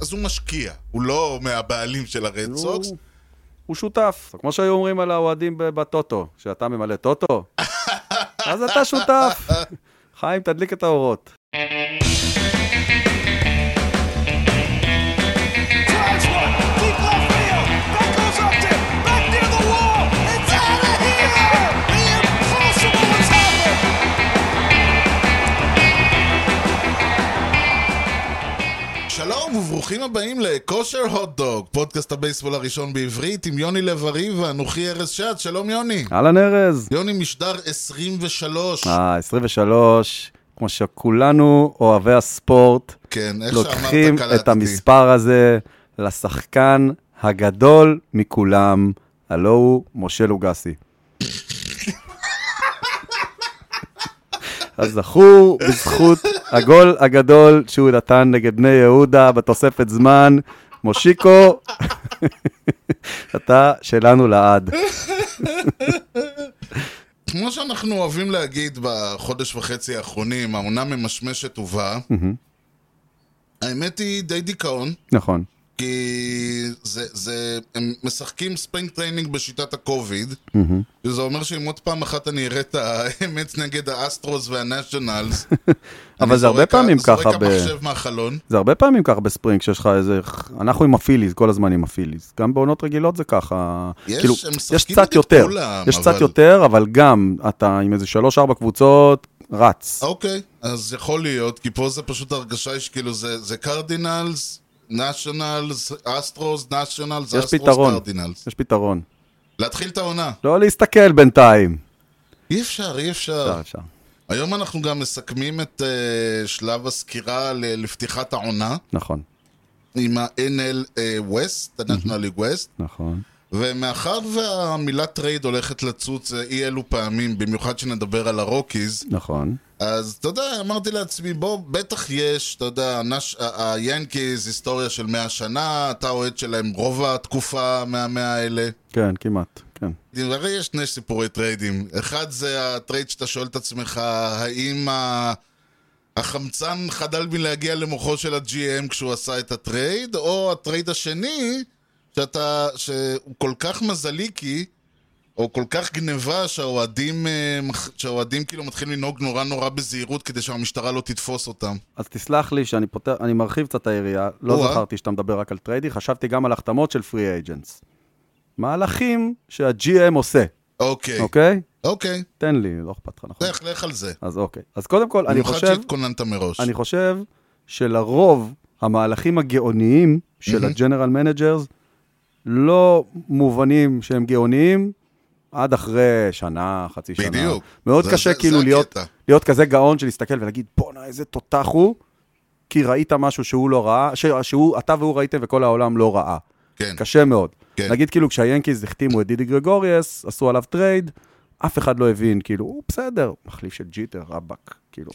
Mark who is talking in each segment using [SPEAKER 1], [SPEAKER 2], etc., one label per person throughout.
[SPEAKER 1] אז הוא משקיע, הוא לא מהבעלים של הרד סוקס.
[SPEAKER 2] הוא- הוא שותף, כמו שהיו אומרים על האוהדים ב- בטוטו, שאתה ממלא טוטו, אז אתה שותף. חיים, תדליק את האורות.
[SPEAKER 3] Drives one, deep left field. That goes up to, back near the wall. It's out of here! The impossible has happened.
[SPEAKER 1] שלום וברוכים הבאים לכושר הוטדוג, פודקאסט הבייסבול הראשון בעברית עם יוני לב-ארי ואנוכי ארז שעד, שלום יוני.
[SPEAKER 2] אהלן ארז.
[SPEAKER 1] יוני משדר 23,
[SPEAKER 2] אה, 23, כמו שכולנו אוהבי הספורט,
[SPEAKER 1] כן, איך שאמרת
[SPEAKER 2] לוקחים
[SPEAKER 1] קלטתי.
[SPEAKER 2] את המספר הזה לשחקן הגדול מכולם, הלו הוא משה לוגסי. הזכור בזכות הגול הגדול שהוא נתן נגד בני יהודה בתוספת זמן. מושיקו, אתה שלנו לעד.
[SPEAKER 1] כמו שאנחנו אוהבים להגיד בחודש וחצי האחרונים, העונה ממשמשת ובאה, האמת היא די דיכאון.
[SPEAKER 2] נכון.
[SPEAKER 1] כי זה, זה, הם משחקים ספרינג טריינינג בשיטת הקוביד, וזה אומר שאם עוד פעם אחת אני אראה את האמת נגד האסטרוס והנשיונלס,
[SPEAKER 2] אבל זה הרבה פעמים ככה
[SPEAKER 1] זורק
[SPEAKER 2] ב-
[SPEAKER 1] המחשב מהחלון. אה,
[SPEAKER 2] זה הרבה פעמים ככה בספרינג, שיש לך איזה... אנחנו עם הפיליז, כל הזמן עם הפיליז. גם בעונות רגילות זה ככה.
[SPEAKER 1] יש,
[SPEAKER 2] כאילו,
[SPEAKER 1] הם משחקים
[SPEAKER 2] יש קצת
[SPEAKER 1] נגד
[SPEAKER 2] יותר.
[SPEAKER 1] כולם,
[SPEAKER 2] יש
[SPEAKER 1] אבל-
[SPEAKER 2] קצת יותר, אבל גם אתה עם איזה שלוש-ארבע קבוצות, רץ.
[SPEAKER 1] אוקיי, אז יכול להיות, כי פה זה פשוט הרגשה היא שכאילו זה, זה קרדינלס, נשיונלס, אסטרוס, נשיונלס,
[SPEAKER 2] יש
[SPEAKER 1] אסטרוס,
[SPEAKER 2] פתרון.
[SPEAKER 1] קרדינלס.
[SPEAKER 2] יש פתרון.
[SPEAKER 1] להתחיל את העונה.
[SPEAKER 2] לא להסתכל בינתיים. לא,
[SPEAKER 1] אי אפשר, אי אפשר.
[SPEAKER 2] אפשר, אפשר.
[SPEAKER 1] היום אנחנו גם מסכמים את uh, שלב הסקירה ל- לפתיחת העונה.
[SPEAKER 2] נכון,
[SPEAKER 1] עם ה-NL אה, West, ה-National League West,
[SPEAKER 2] נכון.
[SPEAKER 1] ומאחר והמילה טרייד הולכת לצוץ אה, אי אלו פעמים, במיוחד שנדבר על הרוקיז,
[SPEAKER 2] נכון.
[SPEAKER 1] אז אתה יודע, אמרתי לעצמי, בוא, בטח יש, אתה יודע, הנש- ה- היאנקיז היסטוריה של 100 שנה, אתה אוהד שלהם רוב התקופה מהמאה האלה.
[SPEAKER 2] כן, כמעט. כן.
[SPEAKER 1] הרי יש שני סיפורי טריידים. אחד זה הטרייד שאתה שואל את עצמך, האם ה... החמצן חדל מלהגיע למוחו של הג'י.אם כשהוא עשה את הטרייד, או הטרייד השני, שאתה, שהוא כל כך מזליקי, או כל כך גניבה שהאוהדים, אה, מח- שהאוהדים כאילו מתחילים לנהוג נורא נורא בזהירות כדי שהמשטרה לא תתפוס אותם.
[SPEAKER 2] אז תסלח לי שאני פותח, אני מרחיב קצת את היריעה. לא
[SPEAKER 1] או-אה.
[SPEAKER 2] זכרתי שאתה מדבר רק על טריידי, חשבתי גם על החתמות של פרי אייג'נס. מהלכים שה-GM עושה,
[SPEAKER 1] אוקיי,
[SPEAKER 2] אוקיי?
[SPEAKER 1] אוקיי,
[SPEAKER 2] תן לי, לא אכפת לך, נכון?
[SPEAKER 1] לך, לך על זה.
[SPEAKER 2] אז אוקיי. אז קודם כל, אני
[SPEAKER 1] במיוחד
[SPEAKER 2] חושב,
[SPEAKER 1] שהתכוננת מראש.
[SPEAKER 2] אני חושב שלרוב המהלכים הגאוניים של
[SPEAKER 1] מהמם.
[SPEAKER 2] הג'נרל מנג'רס לא מובנים שהם גאוניים עד אחרי שנה, חצי שנה.
[SPEAKER 1] בדיוק.
[SPEAKER 2] מאוד
[SPEAKER 1] זה-
[SPEAKER 2] קשה
[SPEAKER 1] זה-
[SPEAKER 2] כאילו
[SPEAKER 1] זה
[SPEAKER 2] להיות,
[SPEAKER 1] הקטע.
[SPEAKER 2] להיות כזה גאון של להסתכל ולהגיד, בואנה, איזה תותח הוא, כי ראית משהו שהוא לא ראה, ש- שהוא, אתה והוא ראיתם וכל העולם לא ראה.
[SPEAKER 1] כן,
[SPEAKER 2] קשה מאוד.
[SPEAKER 1] כן.
[SPEAKER 2] נגיד כאילו כשהיאנקיז החתימו את דידי גרגוריאס, עשו עליו טרייד, אף אחד לא הבין, כאילו, הוא בסדר, מחליף של ג'יטר, רבאק, כאילו.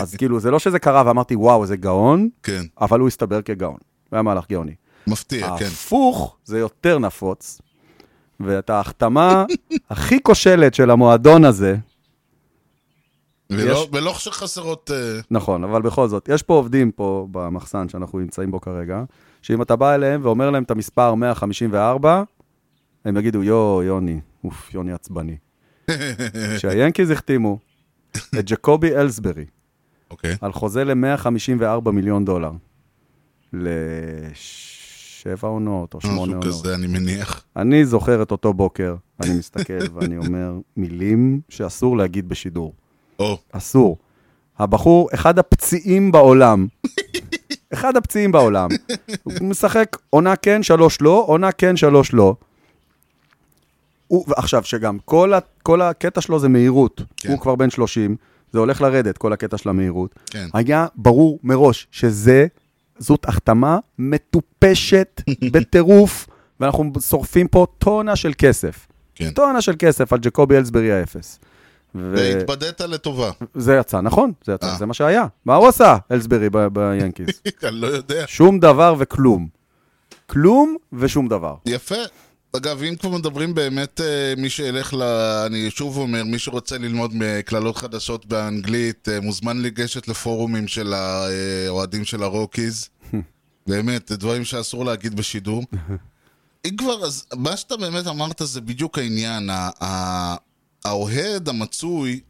[SPEAKER 2] אז כאילו, זה לא שזה קרה ואמרתי, וואו, זה גאון,
[SPEAKER 1] כן,
[SPEAKER 2] אבל הוא הסתבר כגאון. הוא היה מהלך גאוני.
[SPEAKER 1] מפתיע,
[SPEAKER 2] אה,
[SPEAKER 1] כן.
[SPEAKER 2] ההפוך זה יותר נפוץ, ואת ההחתמה הכי כושלת של המועדון הזה,
[SPEAKER 1] ולא, ולא שחסרות... אה,
[SPEAKER 2] נכון, אבל בכל זאת, יש פה עובדים פה במחסן שאנחנו נמצאים בו כרגע, שאם אתה בא אליהם ואומר להם את המספר 154, הם יגידו, יואו, יוני, אוף, יוני עצבני. כשהיאנקיז החתימו את ג'קובי אלסברי
[SPEAKER 1] אוקיי.
[SPEAKER 2] על חוזה ל-154 מיליון דולר, לשבע עונות או שמונה
[SPEAKER 1] משהו
[SPEAKER 2] עונות.
[SPEAKER 1] כזה, אני מניח.
[SPEAKER 2] אני זוכר את אותו בוקר, אני מסתכל ואני אומר, מילים שאסור להגיד בשידור.
[SPEAKER 1] או,
[SPEAKER 2] אסור. הבחור, אחד הפציעים בעולם. אחד הפציעים בעולם. הוא משחק עונה כן, שלוש לא, עונה כן, שלוש לא. הוא, עכשיו, שגם כל, ה, כל הקטע שלו זה מהירות.
[SPEAKER 1] כן.
[SPEAKER 2] כן. הוא כבר בן 30, זה הולך לרדת, כל הקטע של המהירות.
[SPEAKER 1] כן.
[SPEAKER 2] היה ברור מראש שזה, זאת החתמה מטופשת בטירוף, ואנחנו שורפים פה טונה של כסף.
[SPEAKER 1] כן.
[SPEAKER 2] טונה של כסף על ג'קובי אלסברי האפס. ו-
[SPEAKER 1] והתבדית לטובה.
[SPEAKER 2] זה יצא, נכון, זה יצא,
[SPEAKER 1] אה.
[SPEAKER 2] זה מה שהיה. מה הוא עשה, אלסברי, ב- ביאנקיז?
[SPEAKER 1] אני לא יודע.
[SPEAKER 2] שום דבר וכלום. כלום ושום דבר.
[SPEAKER 1] יפה. אגב, אם כבר מדברים באמת, אה, מי שילך ל... אני שוב אומר, מי שרוצה ללמוד מקללות חדשות באנגלית, אה, מוזמן לגשת לפורומים של האוהדים של אה, הרוקיז. באמת, דברים שאסור להגיד בשידור. אם כבר, אז מה שאתה באמת אמרת זה בדיוק העניין. ה- ה- האוהד המצוי,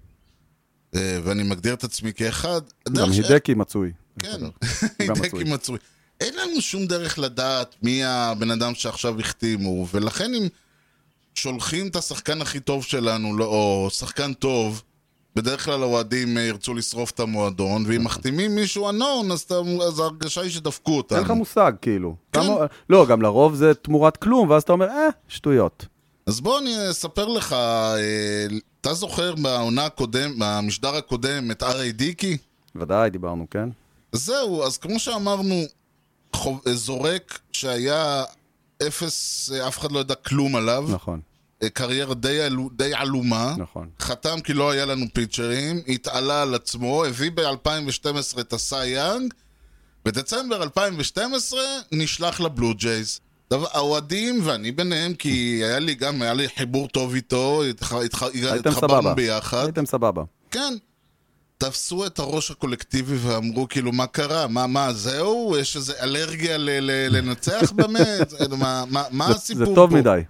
[SPEAKER 1] אה, ואני מגדיר את עצמי כאחד,
[SPEAKER 2] גם
[SPEAKER 1] הדרך ש-
[SPEAKER 2] הידקי מצוי.
[SPEAKER 1] כן, הידקי
[SPEAKER 2] גם מצוי.
[SPEAKER 1] מצוי. אין לנו שום דרך לדעת מי הבן אדם שעכשיו החתימו, ולכן אם שולחים את השחקן הכי טוב שלנו, לא- או שחקן טוב, בדרך כלל האוהדים אה, ירצו לשרוף את המועדון,
[SPEAKER 2] נכון.
[SPEAKER 1] ואם מחתימים מישהו הנון, אז אתה- אז ההרגשה היא שדפקו אותנו.
[SPEAKER 2] אין לך מושג, כאילו.
[SPEAKER 1] כן.
[SPEAKER 2] כמה- לא, גם לרוב זה תמורת כלום, ואז אתה אומר, אה, שטויות.
[SPEAKER 1] אז בוא אני אספר לך, אה, אתה זוכר בעונה הקודם, במשדר הקודם, את ארי דיקי?
[SPEAKER 2] ודאי, דיברנו, כן?
[SPEAKER 1] זהו, אז כמו שאמרנו, חוב, אה, זורק שהיה אפס, אה, אף אחד לא ידע כלום עליו,
[SPEAKER 2] נכון,
[SPEAKER 1] אה, קריירה די, עלו- די עלומה,
[SPEAKER 2] נכון.
[SPEAKER 1] חתם כי לא היה לנו פיצ'רים, התעלה על עצמו, הביא ב-2012 את הסי יאנג, בדצמבר 2012 נשלח לבלו ג'ייז. דבר- האוהדים, ואני ביניהם, כי היה לי גם, היה לי חיבור טוב איתו, התח- התח-
[SPEAKER 2] הייתם
[SPEAKER 1] התחברנו
[SPEAKER 2] סבבה.
[SPEAKER 1] כן, ביחד.
[SPEAKER 2] הייתם סבבה.
[SPEAKER 1] כן. תפסו את הראש הקולקטיבי ואמרו, כאילו, מה קרה? מה, מה, זהו? יש איזו אלרגיה ל- ל- לנצח באמת? מה, מה, מה
[SPEAKER 2] זה-
[SPEAKER 1] הסיפור פה?
[SPEAKER 2] זה טוב מדי.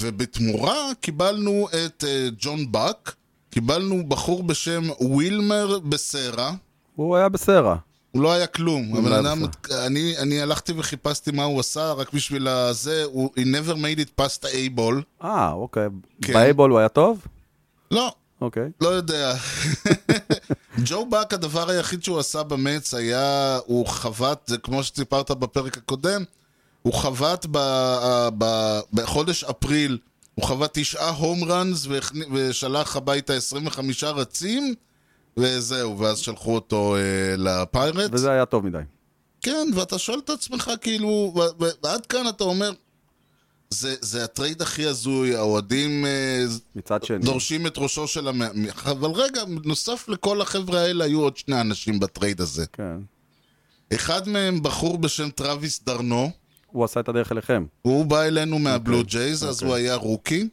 [SPEAKER 1] ובתמורה קיבלנו את אה, ג'ון באק, קיבלנו בחור בשם ווילמר בסרה.
[SPEAKER 2] הוא היה בסרע.
[SPEAKER 1] הוא לא היה כלום,
[SPEAKER 2] לא
[SPEAKER 1] אבל
[SPEAKER 2] היה
[SPEAKER 1] אדם, אני, אני הלכתי וחיפשתי מה הוא עשה רק בשביל הזה, הוא he never made it past the A-ball.
[SPEAKER 2] אה, אוקיי.
[SPEAKER 1] כן.
[SPEAKER 2] באייבול הוא היה טוב?
[SPEAKER 1] לא,
[SPEAKER 2] אוקיי.
[SPEAKER 1] לא יודע. ג'ו באק, הדבר היחיד שהוא עשה במץ היה, הוא חבט, זה כמו שסיפרת בפרק הקודם, הוא חבט ב, אה, ב, בחודש אפריל, הוא חבט תשעה הום ראנס והכני- ושלח הביתה 25 רצים, וזהו, ואז שלחו אותו אה, לפיירטס.
[SPEAKER 2] וזה היה טוב מדי.
[SPEAKER 1] כן, ואתה שואל את עצמך, כאילו, ו- ו- ועד כאן אתה אומר, זה, זה הטרייד הכי הזוי, האוהדים אה,
[SPEAKER 2] מצד שני.
[SPEAKER 1] דורשים את ראשו של המאמן. אבל רגע, נוסף לכל החבר'ה האלה היו עוד שני אנשים בטרייד הזה.
[SPEAKER 2] כן.
[SPEAKER 1] אחד מהם בחור בשם טרוויס דרנו,
[SPEAKER 2] הוא עשה את הדרך אליכם.
[SPEAKER 1] הוא בא אלינו מהבלו ג'ייז, אז
[SPEAKER 2] אוקיי.
[SPEAKER 1] הוא היה רוקי.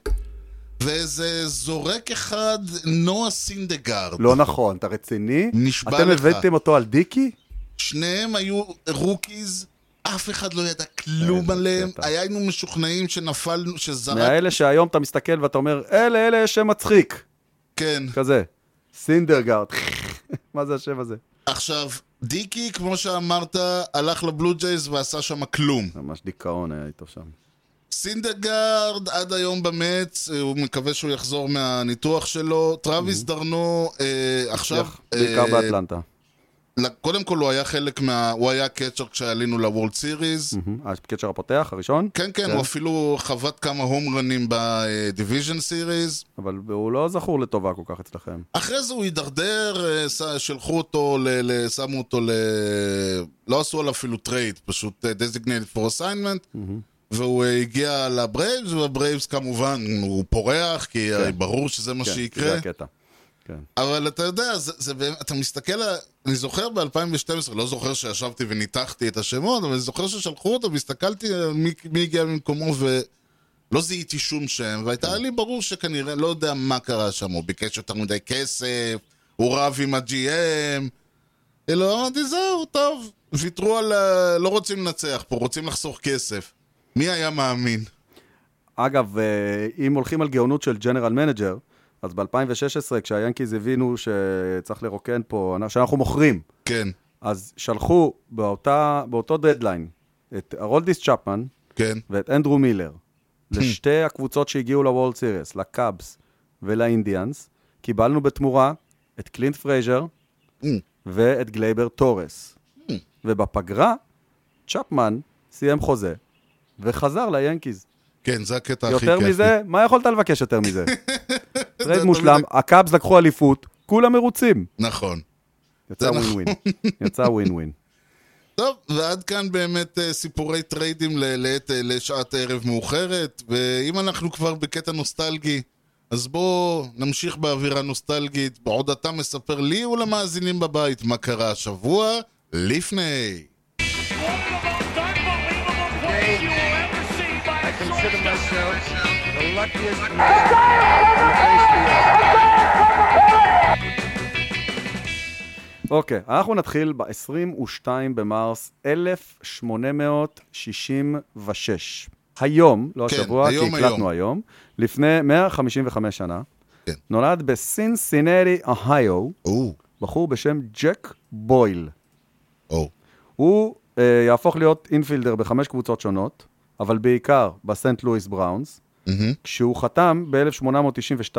[SPEAKER 1] ואיזה זורק אחד, נועה סינדגרד.
[SPEAKER 2] לא נכון, אתה רציני?
[SPEAKER 1] נשבע
[SPEAKER 2] אתם
[SPEAKER 1] לך.
[SPEAKER 2] הבאתם אותו על דיקי?
[SPEAKER 1] שניהם היו רוקיז, אף אחד לא ידע כלום
[SPEAKER 2] איזה
[SPEAKER 1] עליהם.
[SPEAKER 2] אה, קטע.
[SPEAKER 1] היינו משוכנעים שנפלנו, שזרק...
[SPEAKER 2] מהאלה שהיום אתה מסתכל ואתה אומר, אלה, אלה, יש שם מצחיק.
[SPEAKER 1] כן.
[SPEAKER 2] כזה. סינדרגארד. מה זה השם הזה?
[SPEAKER 1] עכשיו, דיקי, כמו שאמרת, הלך לבלו ג'ייז ועשה שם כלום.
[SPEAKER 2] ממש דיכאון היה איתו שם.
[SPEAKER 1] סינדגרד עד היום במץ, אה, הוא מקווה שהוא יחזור מהניתוח שלו. טרוויס דרנו אה, עכשיו...
[SPEAKER 2] איך? Mhm. בעיקר
[SPEAKER 1] אה,
[SPEAKER 2] באטלנטה.
[SPEAKER 1] ל- קודם כל הוא היה חלק מה... הוא היה קצ'ר כשעלינו לוולד סיריז.
[SPEAKER 2] מהמם. הקצ'ר הפותח, הראשון,
[SPEAKER 1] כן, כן,
[SPEAKER 2] Mhm. כן.
[SPEAKER 1] הוא אפילו חבט כמה הום רנים אה, בדיוויז'ן סיריז.
[SPEAKER 2] אבל הוא לא זכור לטובה כל כך אצלכם.
[SPEAKER 1] אחרי זה הוא הידרדר, אה, ש- שלחו אותו, ל- ל- שמו אותו ל... לא עשו עליו אפילו טרייד, פשוט אה, designated for assignment. והוא אה, הגיע לברייבס, והברייבס כמובן, הוא פורח, כי אה, ברור שזה מה
[SPEAKER 2] כן,
[SPEAKER 1] שיקרה.
[SPEAKER 2] זה הקטע. כן.
[SPEAKER 1] אבל אתה יודע, זה, זה, באמת- אתה מסתכל, על- אני זוכר ב-2012, לא זוכר שישבתי וניתחתי את השמות, אבל אני זוכר ששלחו אותו והסתכלתי על מי, מי הגיע במקומו ולא זיהיתי שום שם, והייתה לי ברור שכנראה, לא יודע מה קרה שם, הוא ביקש יותר מדי כסף, הוא רב עם ה-GM, אלא אמרתי, זהו, טוב, ויתרו על ה... לא רוצים לנצח פה, רוצים לחסוך כסף. מי היה מאמין?
[SPEAKER 2] אגב, אה, אם הולכים על גאונות של ג'נרל מנג'ר, אז ב-2016, כשהיאנקיז הבינו שצריך לרוקן פה, שאנחנו מוכרים,
[SPEAKER 1] כן,
[SPEAKER 2] אז שלחו באותה, באותו דדליין את הרולדיס צ'פמן
[SPEAKER 1] כן.
[SPEAKER 2] ואת אנדרו מילר לשתי
[SPEAKER 1] Hmm.
[SPEAKER 2] הקבוצות שהגיעו לוולד סיריס, לקאבס ולאינדיאנס. קיבלנו בתמורה את קלינט פרייזר
[SPEAKER 1] Hmm.
[SPEAKER 2] ואת גלייבר טורס. ובפגרה, צ'פמן סיים חוזה וחזר ליאנקיז.
[SPEAKER 1] כן, זה הקטע הכי כיף.
[SPEAKER 2] יותר מזה, מה יכולת לבקש יותר מזה? טרייד
[SPEAKER 1] יותר
[SPEAKER 2] מושלם,
[SPEAKER 1] מדי.
[SPEAKER 2] הקאבס לקחו אליפות, כולם מרוצים.
[SPEAKER 1] נכון.
[SPEAKER 2] יצא
[SPEAKER 1] נכון.
[SPEAKER 2] ווין ווין. יצא ווין ווין.
[SPEAKER 1] טוב, ועד כאן באמת אה, סיפורי טריידים ל- לעת, אה, לשעת ערב מאוחרת, ואם אנחנו כבר בקטע נוסטלגי, אז בואו נמשיך באווירה נוסטלגית, בעוד אתה מספר לי ולמאזינים בבית מה קרה השבוע לפני.
[SPEAKER 4] I consider myself the luckiest man.
[SPEAKER 2] אוקיי, אנחנו נתחיל ב-22 במרס 1866. היום, לא
[SPEAKER 1] כן,
[SPEAKER 2] השבוע, כי
[SPEAKER 1] היום, היום.
[SPEAKER 2] הקלטנו היום, לפני 155 שנה,
[SPEAKER 1] כן.
[SPEAKER 2] נולד בסינסינטי, אוהיו,
[SPEAKER 1] או,
[SPEAKER 2] בחור בשם ג'ק בויל.
[SPEAKER 1] או.
[SPEAKER 2] הוא אה, יהפוך להיות אינפילדר בחמש קבוצות שונות, אבל בעיקר בסנט לואיס בראונס,
[SPEAKER 1] מהמם.
[SPEAKER 2] כשהוא חתם ב-1892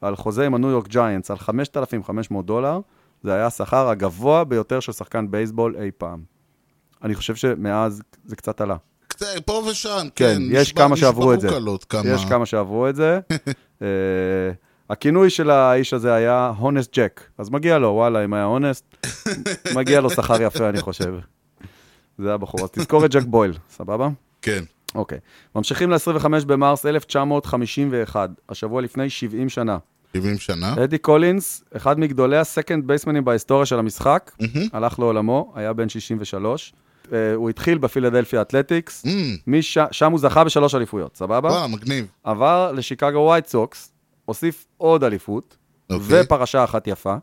[SPEAKER 2] על חוזה עם הניו יורק ג'יינטס על 5,500 דולר, זה היה השכר הגבוה ביותר של שחקן בייסבול אי פעם. אני חושב שמאז זה קצת עלה.
[SPEAKER 1] קצת- פה ושם,
[SPEAKER 2] כן,
[SPEAKER 1] כן.
[SPEAKER 2] יש
[SPEAKER 1] נשבר-
[SPEAKER 2] כמה שעברו את זה.
[SPEAKER 1] נשברו קלות, כמה.
[SPEAKER 2] יש כמה שעברו את זה. אה, הכינוי של האיש הזה היה הונסט ג'ק, אז מגיע לו, וואלה, אם היה הונסט, מגיע לו שכר יפה, אני חושב. זה הבחור, אז תזכור את ג'ק בויל, סבבה?
[SPEAKER 1] כן.
[SPEAKER 2] אוקיי. ממשיכים ל-25 במרס 1951, השבוע לפני 70 שנה.
[SPEAKER 1] 70 שנה.
[SPEAKER 2] אדי קולינס, אחד מגדולי הסקנד בייסמנים בהיסטוריה של המשחק, הלך לעולמו, היה בן 63. אה, הוא התחיל בפילדלפיה אתלטיקס,
[SPEAKER 1] Mm,
[SPEAKER 2] משם- שם הוא זכה בשלוש אליפויות, סבבה?
[SPEAKER 1] וואו, מגניב.
[SPEAKER 2] עבר לשיקגו ווייט סוקס, הוסיף עוד אליפות,
[SPEAKER 1] אוקיי.
[SPEAKER 2] ופרשה אחת יפה,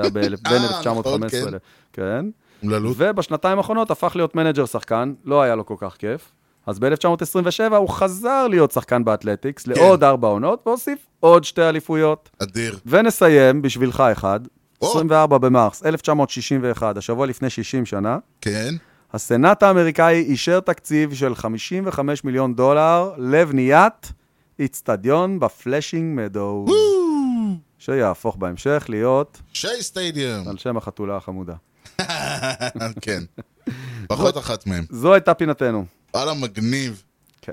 [SPEAKER 2] היה בין
[SPEAKER 1] אה, נכון,
[SPEAKER 2] 1915.
[SPEAKER 1] כן.
[SPEAKER 2] כן.
[SPEAKER 1] אומללות.
[SPEAKER 2] ובשנתיים האחרונות הפך להיות מנג'ר שחקן, לא היה לו כל כך כיף. אז ב-1927 הוא חזר להיות שחקן באתלטיקס לעוד ארבע עונות, והוסיף עוד שתי אליפויות.
[SPEAKER 1] אדיר.
[SPEAKER 2] ונסיים, בשבילך אחד,
[SPEAKER 1] או.
[SPEAKER 2] 24 במרס 1961, השבוע לפני 60 שנה,
[SPEAKER 1] כן.
[SPEAKER 2] הסנאט האמריקאי אישר תקציב של 55 מיליון דולר לבניית איצטדיון בפלאשינג מדו, שיהפוך בהמשך להיות
[SPEAKER 1] שי סטדיום.
[SPEAKER 2] על שם החתולה החמודה. אה.
[SPEAKER 1] כן. פחות אחת מהם.
[SPEAKER 2] זו הייתה פינתנו.
[SPEAKER 1] וואלה, מגניב.
[SPEAKER 2] כן.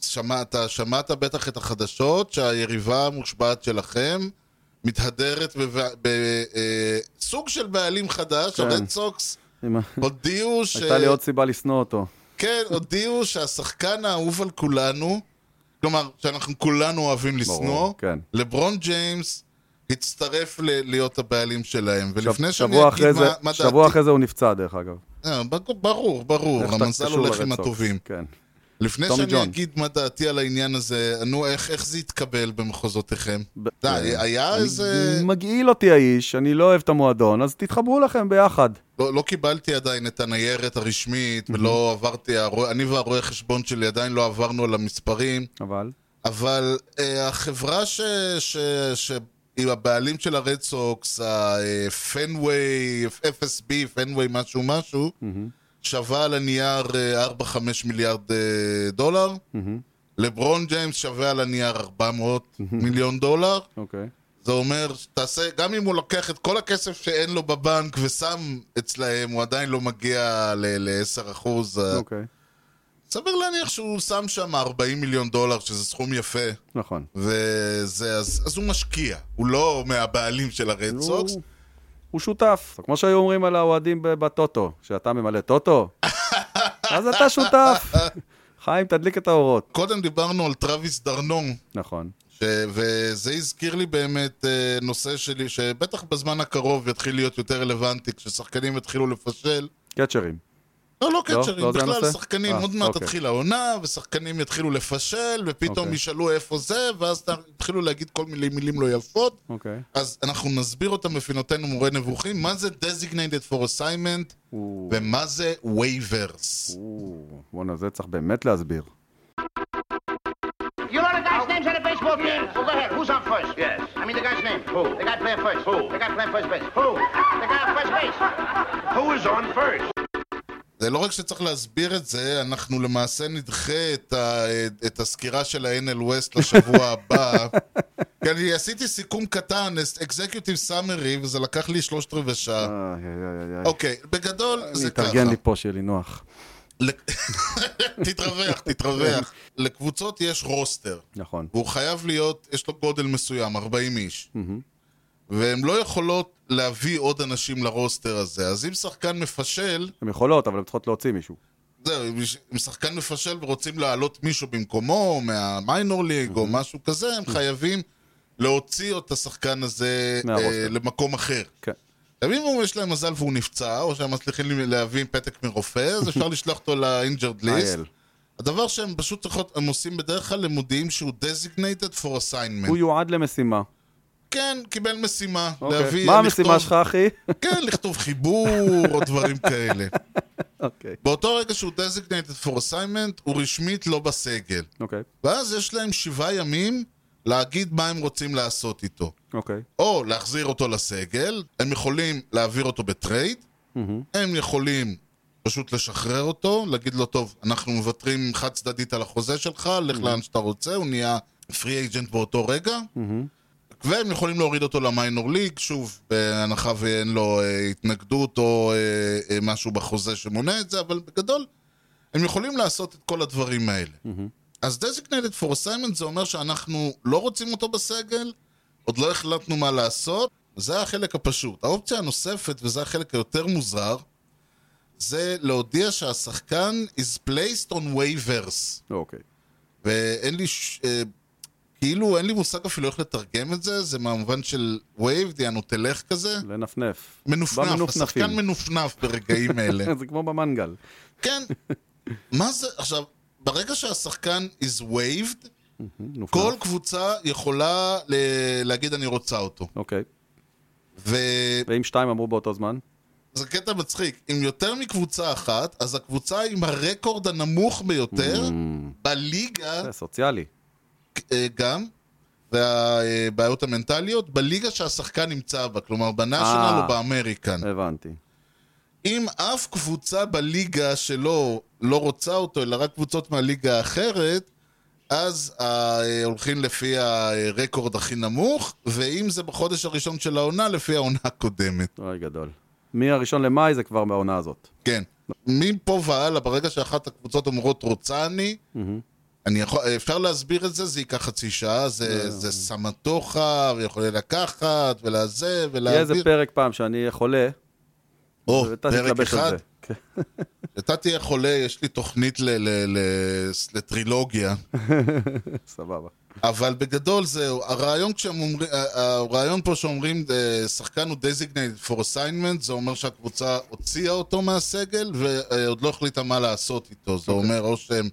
[SPEAKER 1] שמעת, שמעת בטח את החדשות שהיריבה המושבעת שלכם מתהדרת בסוג של בעלים חדש,
[SPEAKER 2] כן.
[SPEAKER 1] הרד סוקס
[SPEAKER 2] עם ה-
[SPEAKER 1] הודיעו ש...
[SPEAKER 2] הייתה לי עוד סיבה לשנוא אותו.
[SPEAKER 1] כן, הודיעו שהשחקן האהוב על כולנו, כלומר, שאנחנו כולנו אוהבים לשנוא,
[SPEAKER 2] כן.
[SPEAKER 1] לברון ג'יימס הצטרף ל- להיות הבעלים שלהם. ולפני שאני אגיד
[SPEAKER 2] שבוע אחרי זה-
[SPEAKER 1] מה, מה
[SPEAKER 2] שבוע אחרי זה הוא נפצע, דרך אגב.
[SPEAKER 1] אה, ברור, ברור,
[SPEAKER 2] איך אתה
[SPEAKER 1] המזל
[SPEAKER 2] קשור
[SPEAKER 1] הולך עם
[SPEAKER 2] לרד סוקס?
[SPEAKER 1] הטובים.
[SPEAKER 2] כן.
[SPEAKER 1] לפני
[SPEAKER 2] טומי
[SPEAKER 1] שאני
[SPEAKER 2] ג'ון.
[SPEAKER 1] אגיד מה דעתי על העניין הזה, נו, איך, איך זה התקבל במחוזותיכם?
[SPEAKER 2] ב- אה,
[SPEAKER 1] די, היה איזה...
[SPEAKER 2] מגעיל אותי האיש, אני לא אוהב את המועדון, אז תתחברו לכם ביחד.
[SPEAKER 1] לא, לא קיבלתי עדיין את הניירת הרשמית, ולא עברתי, הרו- אני והרואה חשבון שלי עדיין לא עברנו על המספרים,
[SPEAKER 2] אבל,
[SPEAKER 1] אבל אה, החברה ש... ש... ש... עם הבעלים של הרד סוקס, אה, הפנוויי, FSB, פנוויי משהו משהו, שווה על הנייר אה, 4-5 מיליארד אה, דולר. לברון ג'יימס שווה על הנייר 400 מיליון דולר.
[SPEAKER 2] אוקיי.
[SPEAKER 1] זה אומר, תעשה, גם אם הוא לוקח את כל הכסף שאין לו בבנק ושם אצלהם, הוא עדיין לא מגיע ל-10%.
[SPEAKER 2] אוקיי.
[SPEAKER 1] אה, סביר להניח שהוא שם שם 40 מיליון דולר, שזה סכום יפה,
[SPEAKER 2] נכון.
[SPEAKER 1] וזה, אז, אז הוא משקיע, הוא לא מהבעלים של
[SPEAKER 2] לא.
[SPEAKER 1] הרד סוקס.
[SPEAKER 2] הוא- הוא שותף. כמו שהיו אומרים על האוהדים ב- בטוטו, שאתה ממלא טוטו, אז אתה שותף. חיים, תדליק את האורות.
[SPEAKER 1] קודם דיברנו על טרוויס דרנון,
[SPEAKER 2] נכון.
[SPEAKER 1] ש... וזה הזכיר לי באמת אה, נושא שלי, שבטח בזמן הקרוב יתחיל להיות יותר רלוונטי, כששחקנים יתחילו לפשל.
[SPEAKER 2] קצ'רים.
[SPEAKER 1] לא, לא
[SPEAKER 2] לא?
[SPEAKER 1] קצ'רים,
[SPEAKER 2] לא זה
[SPEAKER 1] בכלל
[SPEAKER 2] הנושא?
[SPEAKER 1] שחקנים,
[SPEAKER 2] אה,
[SPEAKER 1] עוד מעט
[SPEAKER 2] אוקיי.
[SPEAKER 1] תתחיל העונה, ושחקנים יתחילו לפשל, ופתאום
[SPEAKER 2] אוקיי.
[SPEAKER 1] ישאלו איפה זה, ואז ת- יתחילו להגיד כל מיני מילים לא יפות.
[SPEAKER 2] אוקיי.
[SPEAKER 1] אז אנחנו נסביר אותם בפינותינו מורה נבוכים, מה זה designated for assignment,
[SPEAKER 2] או,
[SPEAKER 1] ומה זה waivers.
[SPEAKER 2] או, בואנה, זה צריך באמת להסביר.
[SPEAKER 5] You know the guy's names on the baseball team? Well, go ahead. Who's on first? Yes. I mean the guy's name. Who? The guy playing first. Who? The guy playing first base. Who? The guy on first base.
[SPEAKER 4] Who is on first?
[SPEAKER 1] זה לא רק שצריך להסביר את זה, אנחנו למעשה נדחה את, ה, את הסקירה של ה-NL West לשבוע הבא. כי אני עשיתי סיכום קטן, executive summary, וזה לקח לי שלושת רבעי שעה.
[SPEAKER 2] איי, איי, איי, איי.
[SPEAKER 1] אוקיי, בגדול
[SPEAKER 2] אה. אני
[SPEAKER 1] זה ככה.
[SPEAKER 2] אתארגן לי פה שיהיה לי נוח.
[SPEAKER 1] לק- תתרווח, תתרווח. לקבוצות יש רוסטר,
[SPEAKER 2] נכון.
[SPEAKER 1] והוא חייב להיות, יש לו גודל מסוים, 40 איש. והן לא יכולות להביא עוד אנשים לרוסטר הזה. אז אם שחקן מפשל,
[SPEAKER 2] הן יכולות, אבל הן צריכות להוציא מישהו.
[SPEAKER 1] זהו, אם יש- אם שחקן מפשל ורוצים להעלות מישהו במקומו, מהמיינור ליג או משהו כזה, הם חייבים להוציא את השחקן הזה אה,
[SPEAKER 2] מהרוסטר.
[SPEAKER 1] למקום אחר.
[SPEAKER 2] כן.
[SPEAKER 1] עכשיו, אם הוא- יש להם מזל והוא נפצע, או שהם מצליחים להביא פתק מרופא, אז אפשר לשלוח אותו ל-injured list.
[SPEAKER 2] אייל.
[SPEAKER 1] הדבר שהם פשוט צריכות, הם עושים בדרך כלל, הם מודיעים שהוא designated for assignment.
[SPEAKER 2] הוא יועד למשימה.
[SPEAKER 1] כן, קיבל משימה.
[SPEAKER 2] אוקיי.
[SPEAKER 1] להביא-
[SPEAKER 2] מה
[SPEAKER 1] לכתוב-
[SPEAKER 2] המשימה שלך, אחי?
[SPEAKER 1] כן, לכתוב חיבור או דברים כאלה.
[SPEAKER 2] אוקיי.
[SPEAKER 1] באותו רגע שהוא designated for assignment, הוא רשמית לא בסגל.
[SPEAKER 2] אוקיי,
[SPEAKER 1] ואז יש להם שבעה ימים להגיד מה הם רוצים לעשות איתו.
[SPEAKER 2] אוקיי.
[SPEAKER 1] או להחזיר אותו לסגל, הם יכולים להעביר אותו בטרייד,
[SPEAKER 2] מהמם.
[SPEAKER 1] הם יכולים פשוט לשחרר אותו, להגיד לו, טוב, אנחנו מוותרים חד צדדית על החוזה שלך, לך לאן שאתה רוצה, הוא נהיה פרי אייג'נט באותו רגע.
[SPEAKER 2] מהמם.
[SPEAKER 1] והם יכולים להוריד אותו למיינור ליג, שוב, בהנחה ואין לו אה, התנגדות או אה, אה, משהו בחוזה שמונע את זה, אבל בגדול, הם יכולים לעשות את כל הדברים האלה. אז designated for assignment זה אומר שאנחנו לא רוצים אותו בסגל, עוד לא החלטנו מה לעשות, זה החלק הפשוט. האופציה הנוספת, וזה החלק היותר מוזר, זה להודיע שהשחקן is placed on waivers.
[SPEAKER 2] אוקיי.
[SPEAKER 1] ואין לי, ש... אה, כאילו, אין לי מושג אפילו איך לתרגם את זה, זה מהמובן של וייב, דיאנו תלך כזה.
[SPEAKER 2] לנפנף.
[SPEAKER 1] מנופנף,
[SPEAKER 2] במנופנפים.
[SPEAKER 1] השחקן מנופנף ברגעים אלה.
[SPEAKER 2] זה כמו במנגל.
[SPEAKER 1] כן, מה זה, עכשיו, ברגע שהשחקן is waived,
[SPEAKER 2] נופנף.
[SPEAKER 1] כל קבוצה יכולה ל- להגיד אני רוצה אותו.
[SPEAKER 2] אוקיי.
[SPEAKER 1] וזה
[SPEAKER 2] ואם שתיים אמרו באותו זמן?
[SPEAKER 1] כן. קטע מצחיק, אם יותר מקבוצה אחת, אז הקבוצה עם הרקורד הנמוך ביותר בליגה
[SPEAKER 2] זה סוציאלי.
[SPEAKER 1] אה, גם, והבעיות המנטליות, בליגה שהשחקן נמצא בה, כלומר בנאשונל
[SPEAKER 2] אה.
[SPEAKER 1] או באמריקן.
[SPEAKER 2] הבנתי.
[SPEAKER 1] אם אף קבוצה בליגה שלו לא רוצה אותו, אלא רק קבוצות מהליגה האחרת, אז אה, הולכים לפי הרקורד הכי נמוך, ואם זה בחודש הראשון של העונה, לפי העונה הקודמת.
[SPEAKER 2] אוי, גדול. מהראשון למאי זה כבר מהעונה הזאת.
[SPEAKER 1] כן. מפה והלאה, ברגע שאחת הקבוצות אומרות רוצה אני, אני יכול, אפשר להסביר את זה, זה ייקח חצי שעה,
[SPEAKER 2] לא.
[SPEAKER 1] זה, זה סמטוחה, ויכול לקחת, ולזה,
[SPEAKER 2] יהיה איזה
[SPEAKER 1] ולהעביר.
[SPEAKER 2] פרק פעם שאני חולה,
[SPEAKER 1] או,
[SPEAKER 2] ואתה
[SPEAKER 1] פרק
[SPEAKER 2] תתלבש
[SPEAKER 1] אחד.
[SPEAKER 2] על זה. כן.
[SPEAKER 1] אתה תהיה חולה, יש לי תוכנית ל- ל- ל- לטרילוגיה.
[SPEAKER 2] סבבה.
[SPEAKER 1] אבל בגדול זהו, הרעיון, כשהם אומרים, ה- ה- הרעיון פה שאומרים אה, שחקן הוא designated for assignment, זה אומר שהקבוצה הוציאה אותו מהסגל ועוד לא החליטה מה לעשות איתו.
[SPEAKER 2] אוקיי.
[SPEAKER 1] זה אומר או שהם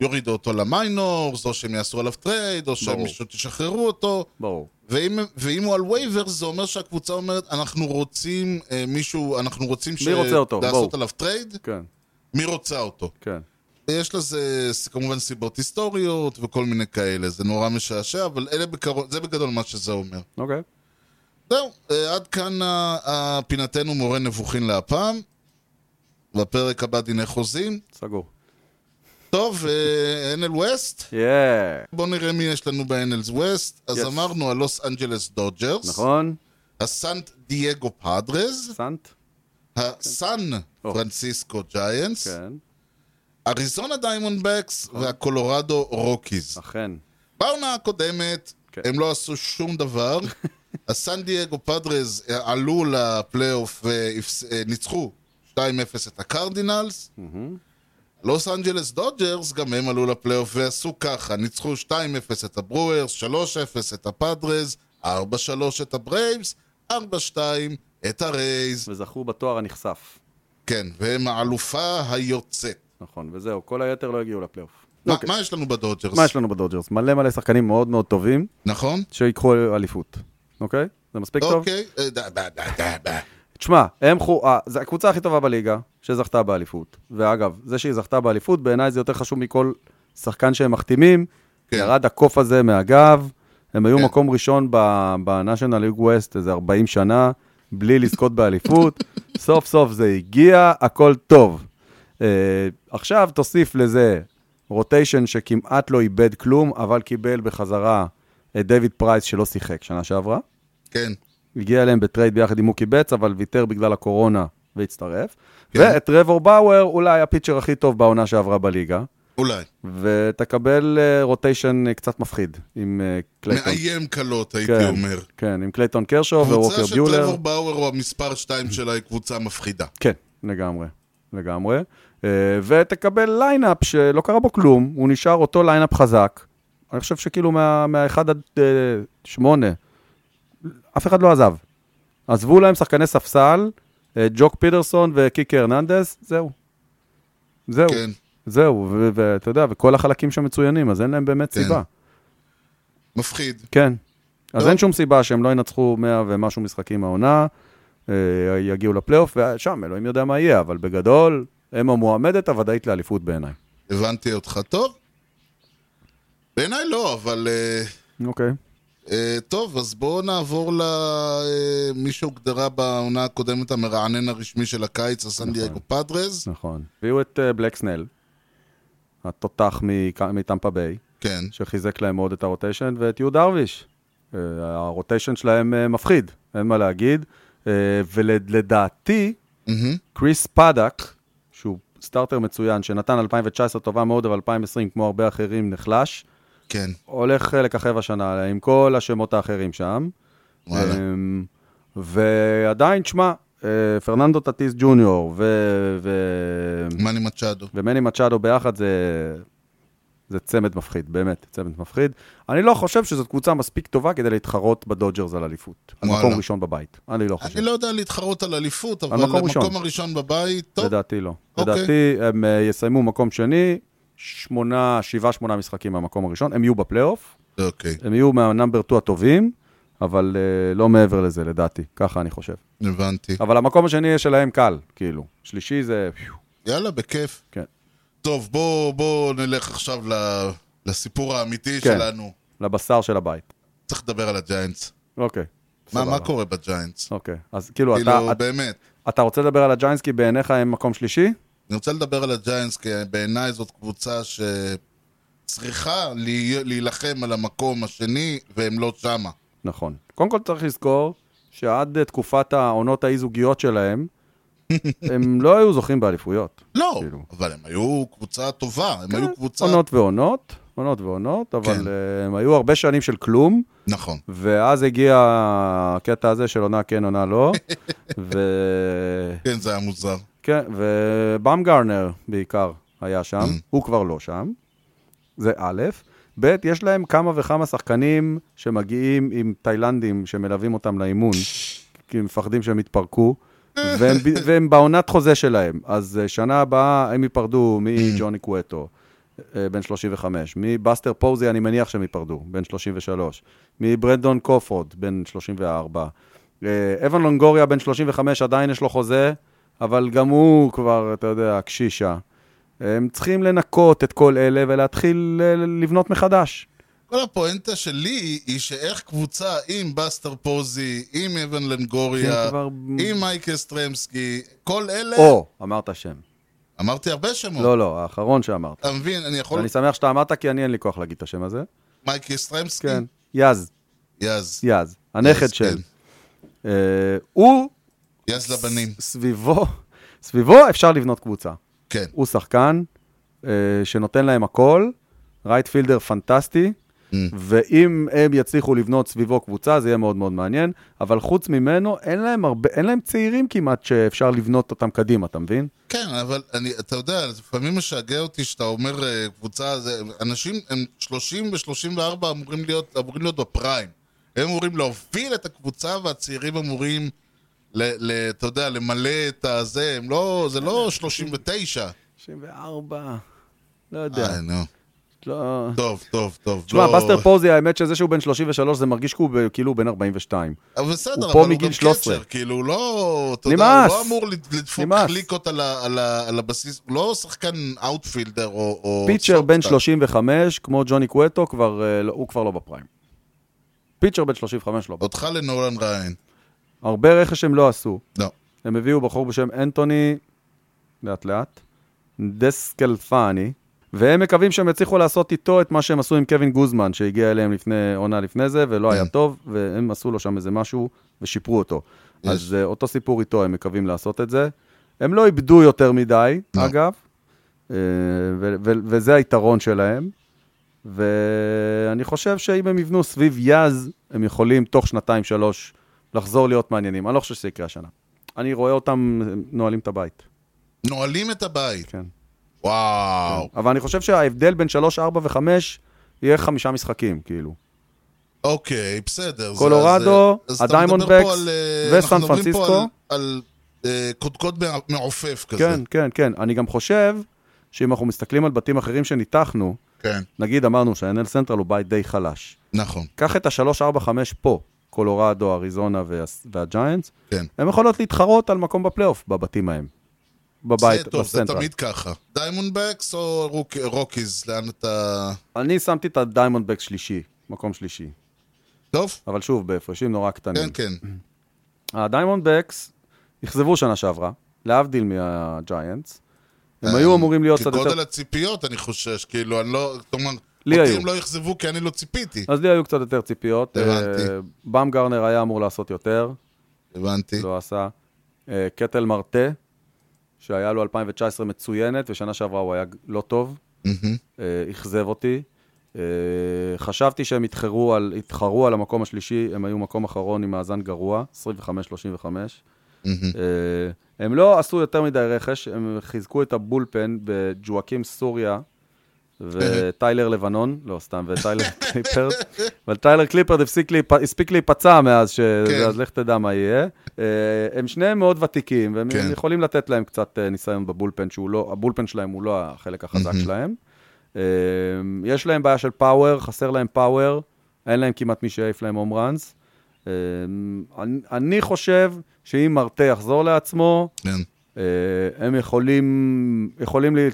[SPEAKER 1] יורידו אותו למיינורס, או שהם יעשו עליו טרייד, או שהם
[SPEAKER 2] ברור.
[SPEAKER 1] פשוט ישחררו אותו.
[SPEAKER 2] ברור.
[SPEAKER 1] ואם, ואם הוא על וייבר, זה אומר שהקבוצה אומרת, אנחנו רוצים אה, מישהו, אנחנו רוצים ש...
[SPEAKER 2] מי רוצה אותו?
[SPEAKER 1] לעשות
[SPEAKER 2] בואו."
[SPEAKER 1] עליו טרייד,
[SPEAKER 2] כן,
[SPEAKER 1] מי רוצה אותו?
[SPEAKER 2] כן.
[SPEAKER 1] יש לזה ס- כמובן סיבות היסטוריות וכל מיני כאלה, זה נורא משעשע, אבל אלה בקרוב, זה בגדול מה שזה אומר.
[SPEAKER 2] אוקיי.
[SPEAKER 1] זהו, אה, עד כאן ה- ה- פינתנו מורה נבוכין להפעם. בפרק הבא דיני חוזים.
[SPEAKER 2] סגור.
[SPEAKER 1] טוב, NL ווסט,
[SPEAKER 2] יאה.
[SPEAKER 1] בואו נראה מי יש לנו ב-NL ווסט. אז
[SPEAKER 2] Yes.
[SPEAKER 1] אמרנו הלוס אנג'לס דודג'רס,
[SPEAKER 2] נכון?
[SPEAKER 1] הסנט דייגו פאדרז,
[SPEAKER 2] סנט?
[SPEAKER 1] הסן
[SPEAKER 2] או.
[SPEAKER 1] פרנסיסקו ג'יינטס,
[SPEAKER 2] כן.
[SPEAKER 1] אריזונה דיימונדבקס והקולורדו רוקיז.
[SPEAKER 2] אכן.
[SPEAKER 1] בעונה הקודמת,
[SPEAKER 2] כן.
[SPEAKER 1] הם לא עשו שום דבר. הסן דייגו פאדרז אה, עלו לפלייאוף אה, וניצחו 2-0 את הקרדינלס. לוס אנג'לס דודג'רס, גם הם עלו לפלייאוף ועשו ככה, ניצחו 2-0 את הברוארס, 3-0 את הפאדרז, 4-3 את הברייבס, 4-2 את הרייז.
[SPEAKER 2] וזכו בתואר הנכסף.
[SPEAKER 1] כן, והם האלופה היוצאת.
[SPEAKER 2] נכון, וזהו. כל היתר לא הגיעו לפלייאוף.
[SPEAKER 1] מה-
[SPEAKER 2] אוקיי.
[SPEAKER 1] מה יש לנו בדודג'רס?
[SPEAKER 2] מה יש לנו בדודג'רס? מלא מלא שחקנים מאוד מאוד טובים,
[SPEAKER 1] נכון?
[SPEAKER 2] שיקחו אליפות. אוקיי? זה מספיק טוב?
[SPEAKER 1] אוקיי. אה, ד- ד- ד- ד- ד-
[SPEAKER 2] תשמע, הם חו... אה, זו הקבוצה הכי טובה בליגה, שזכתה באליפות. ואגב, זה שהיא זכתה באליפות, בעיניי זה יותר חשוב מכל שחקן שהם מחתימים.
[SPEAKER 1] כן.
[SPEAKER 2] כן. ירד הקוף הזה מהגב, הם היו
[SPEAKER 1] כן.
[SPEAKER 2] כן. מקום ראשון בנאשונל ליג ווסט איזה 40 שנה, בלי לזכות באליפות. סוף סוף זה הגיע, הכל טוב. Uh, עכשיו תוסיף לזה רוטיישן שכמעט לא איבד כלום, אבל קיבל בחזרה את דיוויד פרייס שלא שיחק שנה שעברה.
[SPEAKER 1] כן.
[SPEAKER 2] הגיע אליהם בטרייד ביחד עם מוקי בץ, אבל ויתר בגלל הקורונה והצטרף.
[SPEAKER 1] כן.
[SPEAKER 2] ואת טרוור באואר, אולי הפיצ'ר הכי טוב בעונה שעברה בליגה,
[SPEAKER 1] אולי.
[SPEAKER 2] ותקבל אה, רוטיישן אה, קצת מפחיד עם אה, קלייטון.
[SPEAKER 1] מאיים קלות, הייתי
[SPEAKER 2] כן,
[SPEAKER 1] אומר.
[SPEAKER 2] כן, עם קלייטון קרשו
[SPEAKER 1] קבוצה
[SPEAKER 2] וווקר
[SPEAKER 1] של
[SPEAKER 2] ביולר.
[SPEAKER 1] טרוור באואר הוא המספר 2 שלה, היא קבוצה מפחידה.
[SPEAKER 2] כן, לגמרי, לגמרי. אה, ותקבל ליינאפ שלא קרה בו כלום, הוא נשאר אותו ליינאפ חזק. אני חושב שכאילו מה- מהאחד עד אה, שמונה, אף אחד לא עזב. עזבו להם שחקני ספסל, אה, ג'וק פיטרסון וקיקי הרננדס, זהו. זהו,
[SPEAKER 1] כן.
[SPEAKER 2] זהו, ו- ואתה יודע, וכל החלקים שם מצוינים, אז אין להם באמת
[SPEAKER 1] כן.
[SPEAKER 2] סיבה.
[SPEAKER 1] מפחיד.
[SPEAKER 2] כן. אז אין שום סיבה שהם לא ינצחו 100 ומשהו משחקים העונה, אה, יגיעו לפלייאוף, ושם אלוהים יודע מה יהיה, אבל בגדול, הם המועמדת הוודאית לאליפות בעיניי.
[SPEAKER 1] הבנתי אותך טוב? בעיניי לא, אבל... אה,
[SPEAKER 2] אוקיי.
[SPEAKER 1] אה, טוב, אז בואו נעבור למי שהוגדרה בעונה הקודמת המרענן הרשמי של הקיץ, הסן דייגו פאדרז.
[SPEAKER 2] נכון. הביאו את אה, בלקסנל, התותח מק- מטמפה ביי.
[SPEAKER 1] כן.
[SPEAKER 2] שחיזק להם מאוד את הרוטיישן, ואת יהוד דרוויש. אה, הרוטיישן שלהם אה, מפחיד, אין מה להגיד. אה, ולדעתי,
[SPEAKER 1] מהמם.
[SPEAKER 2] קריס פדק, שהוא סטארטר מצוין, שנתן 2019 טובה מאוד, אבל 2020, כמו הרבה אחרים, נחלש,
[SPEAKER 1] כן,
[SPEAKER 2] הולך אה, לככב השנה עם כל השמות האחרים שם.
[SPEAKER 1] וואלה.
[SPEAKER 2] אמ, ועדיין, שמע, אה, פרננדו טטיס ג'וניור ו... ו...
[SPEAKER 1] מאני מצ'אדו.
[SPEAKER 2] ומני מצ'אדו ביחד זה, זה צמד מפחיד, באמת, צמד מפחיד. אני לא חושב שזאת קבוצה מספיק טובה כדי להתחרות בדודג'רס על אליפות. על
[SPEAKER 1] וואלה.
[SPEAKER 2] מקום ראשון בבית. אני לא חושב.
[SPEAKER 1] אני לא יודע להתחרות על אליפות, אבל
[SPEAKER 2] המקום
[SPEAKER 1] המקום
[SPEAKER 2] ראשון.
[SPEAKER 1] הראשון בבית, טוב,
[SPEAKER 2] לדעתי לא.
[SPEAKER 1] אוקיי.
[SPEAKER 2] לדעתי הם אה, יסיימו מקום שני, שמונה, שבעה, שמונה משחקים מהמקום הראשון. הם יהיו בפלייאוף,
[SPEAKER 1] אוקיי,
[SPEAKER 2] הם יהיו מהנאמבר 2 הטובים, אבל אה, לא מעבר לזה, לדעתי. ככה אני חושב.
[SPEAKER 1] הבנתי.
[SPEAKER 2] אבל המקום השני יהיה שלהם קל, כאילו. שלישי זה...
[SPEAKER 1] יאללה, בכיף.
[SPEAKER 2] כן.
[SPEAKER 1] טוב, בואו בוא נלך עכשיו ל- לסיפור האמיתי
[SPEAKER 2] כן.
[SPEAKER 1] שלנו.
[SPEAKER 2] לבשר של הבית.
[SPEAKER 1] צריך לדבר על הג'יינטס.
[SPEAKER 2] אוקיי.
[SPEAKER 1] מה,
[SPEAKER 2] סבבה.
[SPEAKER 1] מה קורה בג'יינטס?
[SPEAKER 2] אוקיי. אז כאילו, אתה...
[SPEAKER 1] כאילו,
[SPEAKER 2] אתה-
[SPEAKER 1] באמת.
[SPEAKER 2] אתה רוצה לדבר על הג'יינטס כי בעיניך הם מקום שלישי?
[SPEAKER 1] אני רוצה לדבר על הג'יינטס, כי בעיניי זאת קבוצה שצריכה להי- להילחם על המקום השני, והם לא שמה.
[SPEAKER 2] נכון. קודם כל צריך לזכור שעד אה, תקופת העונות האי-זוגיות שלהם, הם לא היו זוכים באליפויות.
[SPEAKER 1] לא,
[SPEAKER 2] כאילו. כן,
[SPEAKER 1] אבל הם היו קבוצה טובה, הם היו קבוצה...
[SPEAKER 2] עונות ועונות, עונות ועונות, אבל
[SPEAKER 1] כן.
[SPEAKER 2] אה, הם היו הרבה שנים של כלום,
[SPEAKER 1] נכון.
[SPEAKER 2] ואז הגיע הקטע הזה של עונה כן, עונה לא, ו...
[SPEAKER 1] כן, זה היה מוזר.
[SPEAKER 2] כן, ובאמגרנר בעיקר היה שם, הוא כבר לא שם, זה א', ב', יש להם כמה וכמה שחקנים שמגיעים עם תאילנדים שמלווים אותם לאימון, כי הם מפחדים שהם יתפרקו, והם, ב- והם בעונת חוזה שלהם. אז אה, שנה הבאה הם ייפרדו מג'וני קואטו, אה, בן 35, מבאסטר פוזי אני מניח שהם ייפרדו, בן 33, מברנדון קופרוד, בן 34, אה, אבן לונגוריה, בן 35, עדיין יש לו חוזה, אבל גם הוא כבר, אתה יודע, קשישה. הם צריכים לנקות את כל אלה ולהתחיל אה, לבנות מחדש.
[SPEAKER 1] כל הפואנטה שלי היא שאיך קבוצה עם בסטר פוזי, עם אבן לנגוריה,
[SPEAKER 2] כן, כבר-
[SPEAKER 1] עם מייק סטרמסקי, כל אלה...
[SPEAKER 2] או, אמרת שם.
[SPEAKER 1] אמרתי הרבה שמות.
[SPEAKER 2] לא, לא, האחרון שאמרת.
[SPEAKER 1] אתה מבין, אני יכול...
[SPEAKER 2] אני שמח שאתה אמרת, כי אני אין לי כוח להגיד את השם הזה.
[SPEAKER 1] מייק סטרמסקי?
[SPEAKER 2] כן. יז,
[SPEAKER 1] יז.
[SPEAKER 2] יז, הנכד
[SPEAKER 1] יז,
[SPEAKER 2] של.
[SPEAKER 1] כן.
[SPEAKER 2] אה, הוא,
[SPEAKER 1] יז לבנים.
[SPEAKER 2] ס- סביבו, סביבו אפשר לבנות קבוצה.
[SPEAKER 1] כן.
[SPEAKER 2] הוא שחקן אה, שנותן להם הכל, רייט פילדר פנטסטי, ואם הם יצליחו לבנות סביבו קבוצה, זה יהיה מאוד מאוד מעניין, אבל חוץ ממנו, אין להם הרבה, אין להם צעירים כמעט שאפשר לבנות אותם קדימה, אתה מבין?
[SPEAKER 1] כן, אבל אני, אתה יודע, לפעמים משגע אותי שאתה אומר אה, קבוצה, זה, אנשים הם 30 ו-34 אמורים להיות, אמורים להיות בפריים. הם אמורים להוביל את הקבוצה והצעירים אמורים, ל, ל, אתה יודע, למלא את הזה, הם לא, זה לא 39.
[SPEAKER 2] 94, לא יודע,
[SPEAKER 1] אה, נו.
[SPEAKER 2] לא...
[SPEAKER 1] טוב, טוב, טוב.
[SPEAKER 2] תשמע,
[SPEAKER 1] לא-
[SPEAKER 2] בסטר פוזי, האמת שזה שהוא בן 33, זה מרגיש כאילו הוא- כאילו הוא בן 42.
[SPEAKER 1] אבל בסדר,
[SPEAKER 2] הוא
[SPEAKER 1] אבל
[SPEAKER 2] פה
[SPEAKER 1] הוא
[SPEAKER 2] מגיל
[SPEAKER 1] גם
[SPEAKER 2] 13.
[SPEAKER 1] קצ'ר, כאילו, הוא לא... אתה יודע, הוא
[SPEAKER 2] נמאס.
[SPEAKER 1] לא אמור לד- לדפוק
[SPEAKER 2] נמאס.
[SPEAKER 1] קליקות על ה- על ה- על הבסיס, הוא לא שחקן אאוטפילדר או... או
[SPEAKER 2] פיצ'ר בן
[SPEAKER 1] סטופסטאר.
[SPEAKER 2] 35, כמו ג'וני קואטו, כבר, אה, לא- הוא כבר לא בפריים. פיצ'ר בן 35 לא.
[SPEAKER 1] אותך לנולן ריין.
[SPEAKER 2] הרבה רכש הם לא עשו.
[SPEAKER 1] לא.
[SPEAKER 2] הם הביאו בחור בשם אנטוני, לאט לאט, דסקלפני, והם מקווים שהם יצליחו לעשות איתו את מה שהם עשו עם קווין גוזמן, שהגיע אליהם לפני, עונה לפני זה, ולא היה
[SPEAKER 1] כן.
[SPEAKER 2] טוב, והם עשו לו שם איזה משהו ושיפרו אותו.
[SPEAKER 1] יש.
[SPEAKER 2] אז אה, אותו סיפור איתו, הם מקווים לעשות את זה. הם לא איבדו יותר מדי,
[SPEAKER 1] לא.
[SPEAKER 2] אגב, אה, ו- ו- וזה היתרון שלהם. ואני חושב שאם הם יבנו סביב יז, הם יכולים תוך שנתיים-שלוש לחזור להיות מעניינים. אני לא חושב שזה יקרה השנה. אני רואה אותם נועלים את הבית,
[SPEAKER 1] נועלים את הבית.
[SPEAKER 2] כן.
[SPEAKER 1] וואו.
[SPEAKER 2] אבל אני חושב שההבדל בין 3, 4 ו-5 יהיה חמישה משחקים, כאילו.
[SPEAKER 1] אוקיי, בסדר. זה-
[SPEAKER 2] קולורדו,
[SPEAKER 1] זה- אז אתה
[SPEAKER 2] הדיימונד
[SPEAKER 1] מדבר פה
[SPEAKER 2] בקס
[SPEAKER 1] על, אה,
[SPEAKER 2] וסן
[SPEAKER 1] אנחנו מדברים פה
[SPEAKER 2] פרנסיסקו.
[SPEAKER 1] על- על אה, קודקוד מעופף כזה.
[SPEAKER 2] כן, כן, כן. אני גם כן. חושב שאם אנחנו מסתכלים על בתים אחרים שניתחנו,
[SPEAKER 1] כן,
[SPEAKER 2] נגיד אמרנו שהNL סנטרל הוא בית די חלש.
[SPEAKER 1] נכון,
[SPEAKER 2] קח את השלוש, ארבע, חמש פה, קולורדו, אריזונה וה- והג'יינטס,
[SPEAKER 1] כן.
[SPEAKER 2] הן יכולות להתחרות על מקום בפלייאוף בבתים ההם. בבית,
[SPEAKER 1] זה טוב, זה
[SPEAKER 2] בסנטרל.
[SPEAKER 1] תמיד ככה. דיימונד בקס או רוק- רוקיז, לאן אתה...
[SPEAKER 2] אני שמתי את הדיימונד בק שלישי, מקום שלישי.
[SPEAKER 1] טוב?
[SPEAKER 2] אבל שוב, בהפרשים נורא קטנים.
[SPEAKER 1] כן, כן.
[SPEAKER 2] הדיימונד בקס אכזבו שנה שעברה, להבדיל מהג'יינטס.
[SPEAKER 1] אה,
[SPEAKER 2] הם היו אמורים להיות קצת
[SPEAKER 1] כגודל
[SPEAKER 2] יותר...
[SPEAKER 1] הציפיות, אני חושש, כאילו, אני לא... כלומר,
[SPEAKER 2] לי
[SPEAKER 1] אותי
[SPEAKER 2] היו.
[SPEAKER 1] הם לא אכזבו כי אני לא ציפיתי.
[SPEAKER 2] אז לי היו קצת יותר ציפיות.
[SPEAKER 1] הבנתי.
[SPEAKER 2] אה, באם גרנר היה אמור לעשות יותר,
[SPEAKER 1] הבנתי.
[SPEAKER 2] לא עשה. אה, קטל מרטה, שהיה לו 2019 מצוינת, ושנה שעברה הוא היה לא טוב,
[SPEAKER 1] מהמם.
[SPEAKER 2] אה, אכזב אותי. אה, חשבתי שהם התחרו על, התחרו על המקום השלישי, הם היו מקום אחרון עם מאזן גרוע, 25-35. אה, הם לא עשו יותר מדי רכש, הם חיזקו את הבולפן בג'ואקים סוריה וטיילר לבנון, לא סתם, וטיילר קליפרד, אבל טיילר קליפרד הפסיק להיפ- הספיק להיפצע מאז, ש...
[SPEAKER 1] כן.
[SPEAKER 2] אז לך תדע מה יהיה. אה, הם שניהם מאוד ותיקים, והם
[SPEAKER 1] כן.
[SPEAKER 2] יכולים לתת להם קצת אה, ניסיון בבולפן, שהוא לא, הבולפן שלהם הוא לא החלק החזק שלהם. אה, יש להם בעיה של פאוור, חסר להם פאוור, אין להם כמעט מי שיעיף להם הום ראנס. אה, אני- אני חושב שאם מרטה יחזור לעצמו,
[SPEAKER 1] כן.
[SPEAKER 2] אה, הם יכולים, יכולים לה,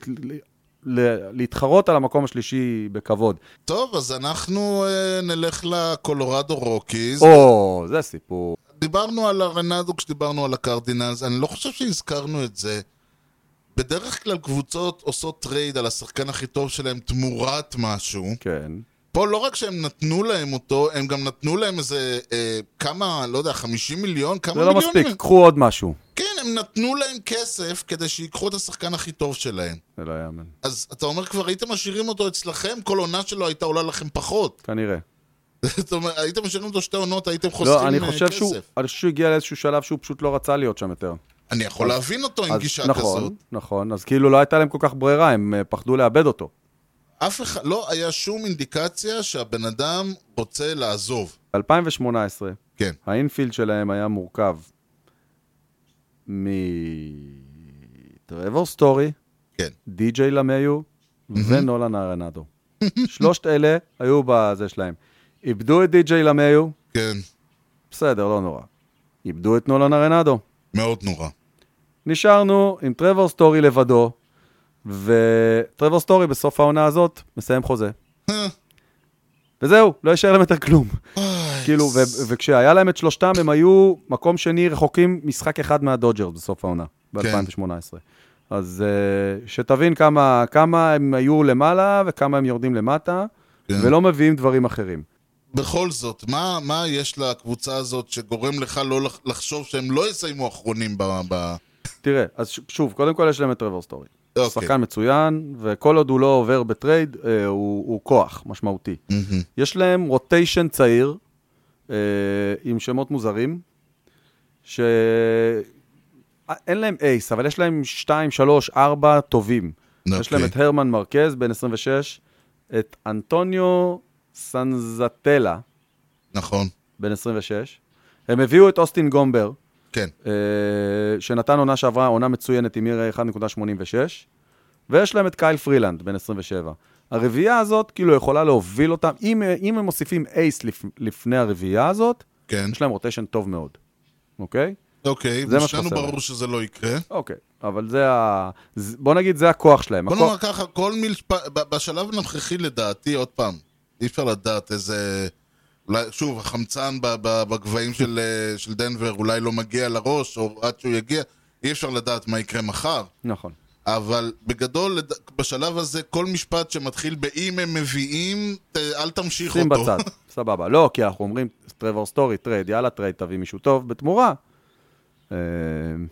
[SPEAKER 2] לה, להתחרות על המקום השלישי בכבוד.
[SPEAKER 1] טוב, אז אנחנו אה, נלך לקולורדו רוקיז.
[SPEAKER 2] או, זה סיפור.
[SPEAKER 1] דיברנו על הרנדו כשדיברנו על הקרדינלס, אני לא חושב שהזכרנו את זה. בדרך כלל קבוצות עושות טרייד על השחקן הכי טוב שלהם תמורת משהו.
[SPEAKER 2] כן.
[SPEAKER 1] פה לא רק שהם נתנו להם אותו, הם גם נתנו להם איזה אה, כמה, לא יודע, 50 מיליון? כמה
[SPEAKER 2] זה לא
[SPEAKER 1] מיליון?
[SPEAKER 2] מספיק, קחו עוד משהו.
[SPEAKER 1] כן, הם נתנו להם כסף כדי שיקחו את השחקן הכי טוב שלהם.
[SPEAKER 2] זה לא יאמן.
[SPEAKER 1] אז אתה אומר, כבר הייתם משאירים אותו אצלכם, כל עונה שלו הייתה עולה לכם פחות.
[SPEAKER 2] כנראה.
[SPEAKER 1] זאת אומרת, הייתם משאירים אותו שתי עונות, הייתם חוסכים
[SPEAKER 2] לא,
[SPEAKER 1] אה,
[SPEAKER 2] אני
[SPEAKER 1] כסף.
[SPEAKER 2] חושב שהוא, אני חושב שהוא הגיע לאיזשהו שלב שהוא פשוט לא רצה להיות שם יותר.
[SPEAKER 1] אני יכול להבין אותו עם
[SPEAKER 2] אז
[SPEAKER 1] גישה כזאת.
[SPEAKER 2] נכון, נכון, אז כאילו לא הייתה להם כל כך ברירה, הם אה, פחדו לאבד אותו.
[SPEAKER 1] אף אחד, לא היה שום אינדיקציה שהבן אדם רוצה לעזוב.
[SPEAKER 2] ב-2018,
[SPEAKER 1] כן.
[SPEAKER 2] האינפילד שלהם היה מורכב מטרוור סטורי,
[SPEAKER 1] כן.
[SPEAKER 2] די.ג'יי למיו ונולן ארנדו. שלושת אלה היו בזה שלהם. איבדו את די.ג'יי למיו,
[SPEAKER 1] כן,
[SPEAKER 2] בסדר, לא נורא. איבדו את נולן ארנדו.
[SPEAKER 1] מאוד נורא.
[SPEAKER 2] נשארנו עם טרוור סטורי לבדו, וטרוור סטורי בסוף העונה הזאת מסיים חוזה.
[SPEAKER 1] אה,
[SPEAKER 2] וזהו, לא יישאר להם יותר כלום. כאילו, ו- וכשהיה להם את שלושתם, הם היו מקום שני רחוקים משחק אחד מהדודג'רס בסוף העונה,
[SPEAKER 1] כן.
[SPEAKER 2] ב-2018. אז אה, שתבין כמה, כמה הם היו למעלה וכמה הם יורדים למטה,
[SPEAKER 1] כן.
[SPEAKER 2] ולא מביאים דברים אחרים.
[SPEAKER 1] בכל זאת, מה, מה יש לקבוצה הזאת שגורם לך לא לח- לחשוב שהם לא יסיימו אחרונים ב... ב...
[SPEAKER 2] תראה, אז ש- שוב, קודם כל יש להם את טרוור סטורי.
[SPEAKER 1] אוקיי.
[SPEAKER 2] שחקן מצוין, וכל עוד הוא לא עובר בטרייד, אה, הוא, הוא כוח משמעותי. יש להם רוטיישן צעיר, אה, עם שמות מוזרים, ש... אה, אין להם אייס, אבל יש להם 2, 3, 4 טובים.
[SPEAKER 1] אוקיי.
[SPEAKER 2] יש להם את הרמן מרקז, בן 26, את אנטוניו סנזטלה,
[SPEAKER 1] נכון,
[SPEAKER 2] בן 26. הם הביאו את אוסטין גומבר,
[SPEAKER 1] כן.
[SPEAKER 2] אה, שנתן עונה שעברה, עונה מצוינת עם מירה 1.86, ויש להם את קייל פרילנד, בן 27. הרביעייה הזאת כאילו יכולה להוביל אותם, אם, אם הם מוסיפים אייס לפ, לפני הרביעייה הזאת,
[SPEAKER 1] כן.
[SPEAKER 2] יש להם רוטיישן טוב מאוד, אוקיי?
[SPEAKER 1] אוקיי,
[SPEAKER 2] זה מה
[SPEAKER 1] ושנינו
[SPEAKER 2] שחסר.
[SPEAKER 1] ברור שזה לא יקרה.
[SPEAKER 2] אוקיי, אבל זה ה... ז- בוא נגיד, זה הכוח שלהם.
[SPEAKER 1] בוא
[SPEAKER 2] הכוח-
[SPEAKER 1] נאמר ככה, כל מלפ... ב- בשלב הנוכחי לדעתי, עוד פעם, אי אפשר לדעת איזה... אולי, שוב, החמצן ב- ב- בגבהים של, אה, של דנבר אולי לא מגיע לראש, או עד שהוא יגיע, אי אפשר לדעת מה יקרה מחר.
[SPEAKER 2] נכון.
[SPEAKER 1] אבל בגדול, לד- בשלב הזה, כל משפט שמתחיל ב"אם הם מביאים", ת- אל תמשיך
[SPEAKER 2] שים
[SPEAKER 1] אותו.
[SPEAKER 2] בצד, סבבה. לא, כי אנחנו אומרים, טרוור סטורי, טרייד, יאללה, טרייד, תביא מישהו טוב, בתמורה. אה,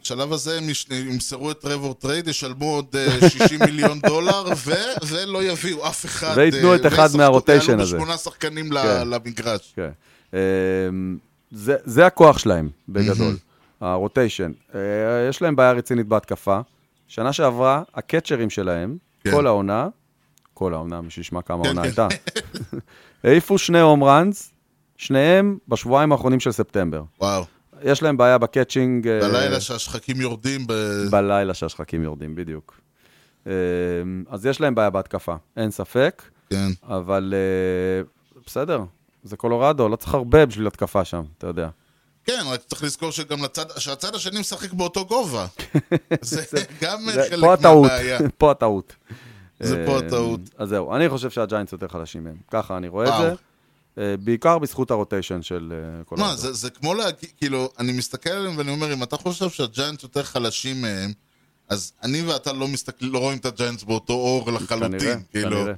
[SPEAKER 1] בשלב הזה הם יש- ימסרו את טרוור טרייד, ישלמו עוד אה, 60 מיליון דולר, ו- ולא יביאו אף אחד.
[SPEAKER 2] וייתנו
[SPEAKER 1] אה,
[SPEAKER 2] את אחד
[SPEAKER 1] וישחקו-
[SPEAKER 2] מהרוטיישן
[SPEAKER 1] יעלו
[SPEAKER 2] הזה.
[SPEAKER 1] בשמונה שחקנים ל-
[SPEAKER 2] כן.
[SPEAKER 1] למגרש.
[SPEAKER 2] כן. אה, זה, זה הכוח שלהם, בגדול, הרוטיישן. אה, יש להם בעיה רצינית בהתקפה. שנה שעברה, הקצ'רים שלהם,
[SPEAKER 1] כן.
[SPEAKER 2] כל העונה, כל העונה, מי שישמע כמה העונה
[SPEAKER 1] כן.
[SPEAKER 2] הייתה, העיפו שני הום ראנס, שניהם בשבועיים האחרונים של ספטמבר.
[SPEAKER 1] וואו.
[SPEAKER 2] יש להם בעיה בקאצ'ינג... אה,
[SPEAKER 1] בלילה שהשחקים יורדים ב...
[SPEAKER 2] בלילה שהשחקים יורדים, בדיוק. Uh, אה, אז יש להם בעיה בהתקפה, אין ספק,
[SPEAKER 1] כן.
[SPEAKER 2] אבל אה, בסדר, זה קולורדו, לא צריך הרבה בשביל התקפה שם, אתה יודע.
[SPEAKER 1] כן, רק צריך לזכור שגם לצד, שהצד השני משחק באותו גובה. זה גם
[SPEAKER 2] זה-
[SPEAKER 1] חלק
[SPEAKER 2] פה הטעות,
[SPEAKER 1] מהבעיה.
[SPEAKER 2] פה הטעות.
[SPEAKER 1] זה פה
[SPEAKER 2] אה,
[SPEAKER 1] הטעות.
[SPEAKER 2] אז זהו, אני חושב שהג'יינטס יותר חלשים מהם, ככה אני רואה את
[SPEAKER 1] וואו.
[SPEAKER 2] זה. אה, בעיקר בזכות הרוטיישן של אה, קולורדו.
[SPEAKER 1] מה, זה, זה כמו לה... כאילו, אני מסתכל עליהם ואני אומר, אם אתה חושב שהג'יינטס יותר חלשים מהם, אז אני ואתה לא, מסתכל, לא רואים את הג'יינטס באותו אור לחלוטין.
[SPEAKER 2] כנראה,
[SPEAKER 1] כאילו,
[SPEAKER 2] כנראה.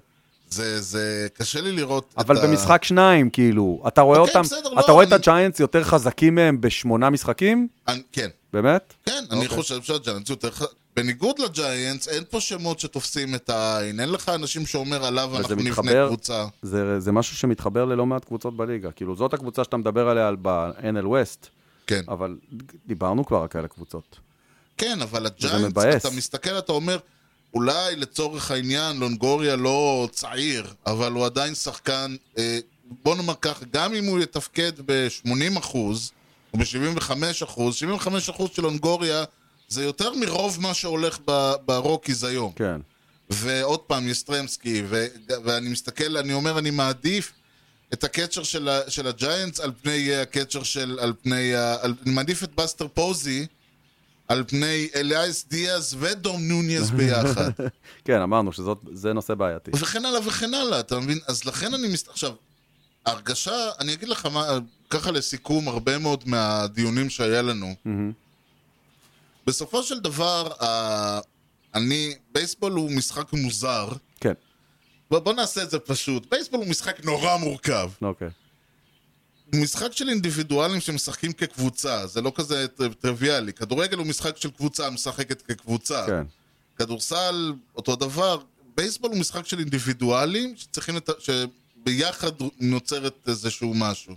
[SPEAKER 1] זה, זה קשה לי לראות
[SPEAKER 2] אבל
[SPEAKER 1] את
[SPEAKER 2] במשחק שניים, כאילו, אתה רואה
[SPEAKER 1] אוקיי,
[SPEAKER 2] אותם,
[SPEAKER 1] בסדר, לא,
[SPEAKER 2] אתה רואה את
[SPEAKER 1] אני-
[SPEAKER 2] הג'יינטס יותר חזקים מהם בשמונה משחקים?
[SPEAKER 1] ה... אני, כן,
[SPEAKER 2] באמת?
[SPEAKER 1] כן, אני
[SPEAKER 2] אוקיי.
[SPEAKER 1] חושב שהג'יינטס יותר ח... בניגוד לג'יינטס, אין פה שמות שתופסים את העין. אין לך אנשים שאומר עליו
[SPEAKER 2] וזה
[SPEAKER 1] אנחנו נבנה
[SPEAKER 2] מתחבר-
[SPEAKER 1] קבוצה.
[SPEAKER 2] זה, זה משהו שמתחבר ללא מעט קבוצות בליגה. כאילו, זאת הקבוצה שאתה מדבר עליה על- ב-NL West,
[SPEAKER 1] כן.
[SPEAKER 2] אבל דיברנו כבר רק על הקבוצות.
[SPEAKER 1] כן, אבל
[SPEAKER 2] וזה
[SPEAKER 1] הג'יינטס,
[SPEAKER 2] מבאס.
[SPEAKER 1] אתה מסתכל, אתה אומר, אולי לצורך העניין לונגוריה לא צעיר, אבל הוא עדיין שחקן, אה, בוא נאמר ככה, גם אם הוא יתפקד ב-80 אחוז, או ב-75 אחוז, 75 אחוז של לונגוריה, זה יותר מרוב מה שהולך ב- ברוקיז היום.
[SPEAKER 2] כן.
[SPEAKER 1] ועוד פעם, יסטרמסקי, ו- ואני מסתכל, אני אומר, אני מעדיף את הקצ'ר של, ה- של הג'יינטס על פני אה, הקצ'ר של, על פני, ה- על, אני מעדיף את בסטר פוזי על פני אלייס דיאז ודום נוניאז ביחד.
[SPEAKER 2] כן, אמרנו שזה נושא בעייתי.
[SPEAKER 1] וכן הלאה וכן הלאה, אתה מבין? אז לכן אני מסתכל... עכשיו, ההרגשה, אני אגיד לך מה, ככה לסיכום, הרבה מאוד מהדיונים שהיה לנו. בסופו של דבר, ה- אני, בייסבול הוא משחק מוזר.
[SPEAKER 2] כן,
[SPEAKER 1] בוא, בוא נעשה את זה פשוט. בייסבול הוא משחק נורא מורכב.
[SPEAKER 2] אוקיי.
[SPEAKER 1] הוא משחק של אינדיבידואלים שמשחקים כקבוצה, זה לא כזה טר- טריוויאלי. כדורגל הוא משחק של קבוצה משחקת כקבוצה.
[SPEAKER 2] כן,
[SPEAKER 1] כדורסל, אותו דבר. בייסבול הוא משחק של אינדיבידואלים שצריכים את... ה- שביחד נוצרת איזשהו משהו.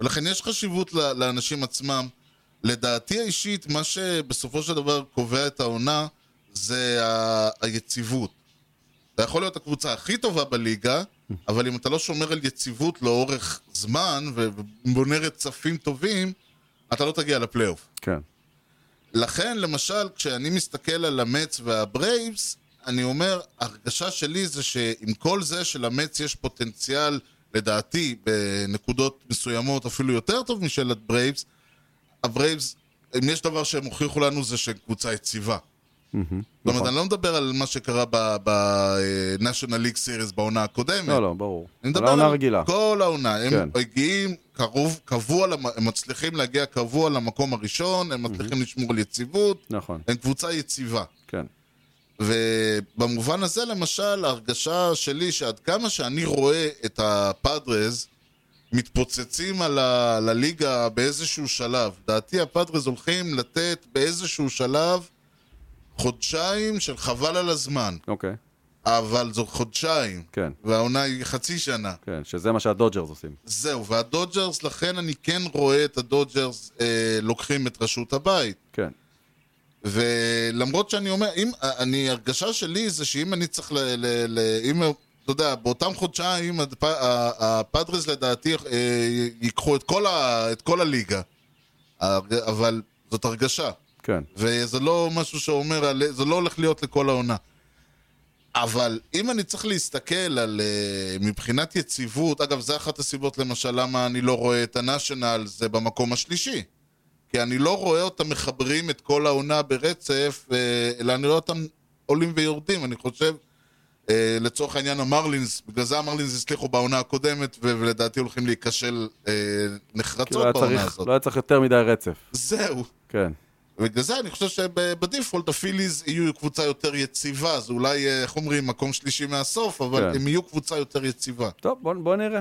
[SPEAKER 1] ולכן יש חשיבות ל- לאנשים עצמם. לדעתי האישית, מה שבסופו של דבר קובע את העונה זה ה- היציבות. אתה יכול להיות הקבוצה הכי טובה בליגה, אבל אם אתה לא שומר על יציבות לאורך זמן ו- ובונה רצפים טובים, אתה לא תגיע לפלייאוף.
[SPEAKER 2] כן.
[SPEAKER 1] לכן, למשל, כשאני מסתכל על המץ והברייבס, אני אומר, ההרגשה שלי זה שעם כל זה שלמץ יש פוטנציאל, לדעתי, בנקודות מסוימות אפילו יותר טוב משל הברייבס, הברייבס, אם יש דבר שהם הוכיחו לנו זה שהם קבוצה יציבה. זאת אומרת,
[SPEAKER 2] נכון.
[SPEAKER 1] אני לא מדבר על מה שקרה ב-National League Series בעונה הקודמת.
[SPEAKER 2] לא, לא, ברור.
[SPEAKER 1] אני
[SPEAKER 2] על
[SPEAKER 1] מדבר
[SPEAKER 2] העונה
[SPEAKER 1] על
[SPEAKER 2] הרגילה.
[SPEAKER 1] כל העונה. הם
[SPEAKER 2] כן.
[SPEAKER 1] מגיעים קרוב, קבוע, למ- הם מצליחים להגיע קבוע למקום הראשון, הם מצליחים לשמור על יציבות,
[SPEAKER 2] נכון,
[SPEAKER 1] הם קבוצה יציבה.
[SPEAKER 2] כן.
[SPEAKER 1] ובמובן הזה, למשל, ההרגשה שלי שעד כמה שאני רואה את הפאדרז מתפוצצים על ה... לליגה באיזשהו שלב, דעתי הפאדרז הולכים לתת באיזשהו שלב חודשיים של חבל על הזמן,
[SPEAKER 2] אוקיי,
[SPEAKER 1] אבל זו חודשיים.
[SPEAKER 2] כן,
[SPEAKER 1] והעונה היא חצי שנה.
[SPEAKER 2] כן, שזה מה שהדודג'רס עושים.
[SPEAKER 1] זהו, והדודג'רס, לכן אני כן רואה את הדודג'רס אה, לוקחים את ראשות הבית.
[SPEAKER 2] כן,
[SPEAKER 1] ולמרות שאני אומר, אם, אני, הרגשה שלי זה שאם אני צריך ל... ל, ל אם, אתה יודע, באותם חודשיים הדפ, ה- הפאדרס לדעתי אה, ייקחו את כל, ה, את כל הליגה. הרג- אבל זאת הרגשה.
[SPEAKER 2] כן,
[SPEAKER 1] וזה לא משהו שאומר, על- זה לא הולך להיות לכל העונה. אבל אם אני צריך להסתכל על אה, מבחינת יציבות, אגב, זה אחת הסיבות למשל למה אני לא רואה את הנאשונל, זה במקום השלישי. כי אני לא רואה אותם מחברים את כל העונה ברצף, אה, אלא אני רואה אותם עולים ויורדים. אני חושב, אה, לצורך העניין המרלינס, בגלל זה המרלינס הצליחו בעונה הקודמת, ו- ולדעתי הולכים להיכשל אה,
[SPEAKER 2] כאילו היה
[SPEAKER 1] נחרצות בעונה
[SPEAKER 2] צריך,
[SPEAKER 1] הזאת.
[SPEAKER 2] לא היה צריך יותר מדי רצף.
[SPEAKER 1] זהו.
[SPEAKER 2] כן,
[SPEAKER 1] בגלל זה אני חושב שבדיפולט הפיליז יהיו קבוצה יותר יציבה, זה אולי, אה, איך אומרים, מקום שלישי מהסוף, אבל
[SPEAKER 2] כן.
[SPEAKER 1] הם יהיו קבוצה יותר יציבה.
[SPEAKER 2] טוב, בוא- בוא נראה.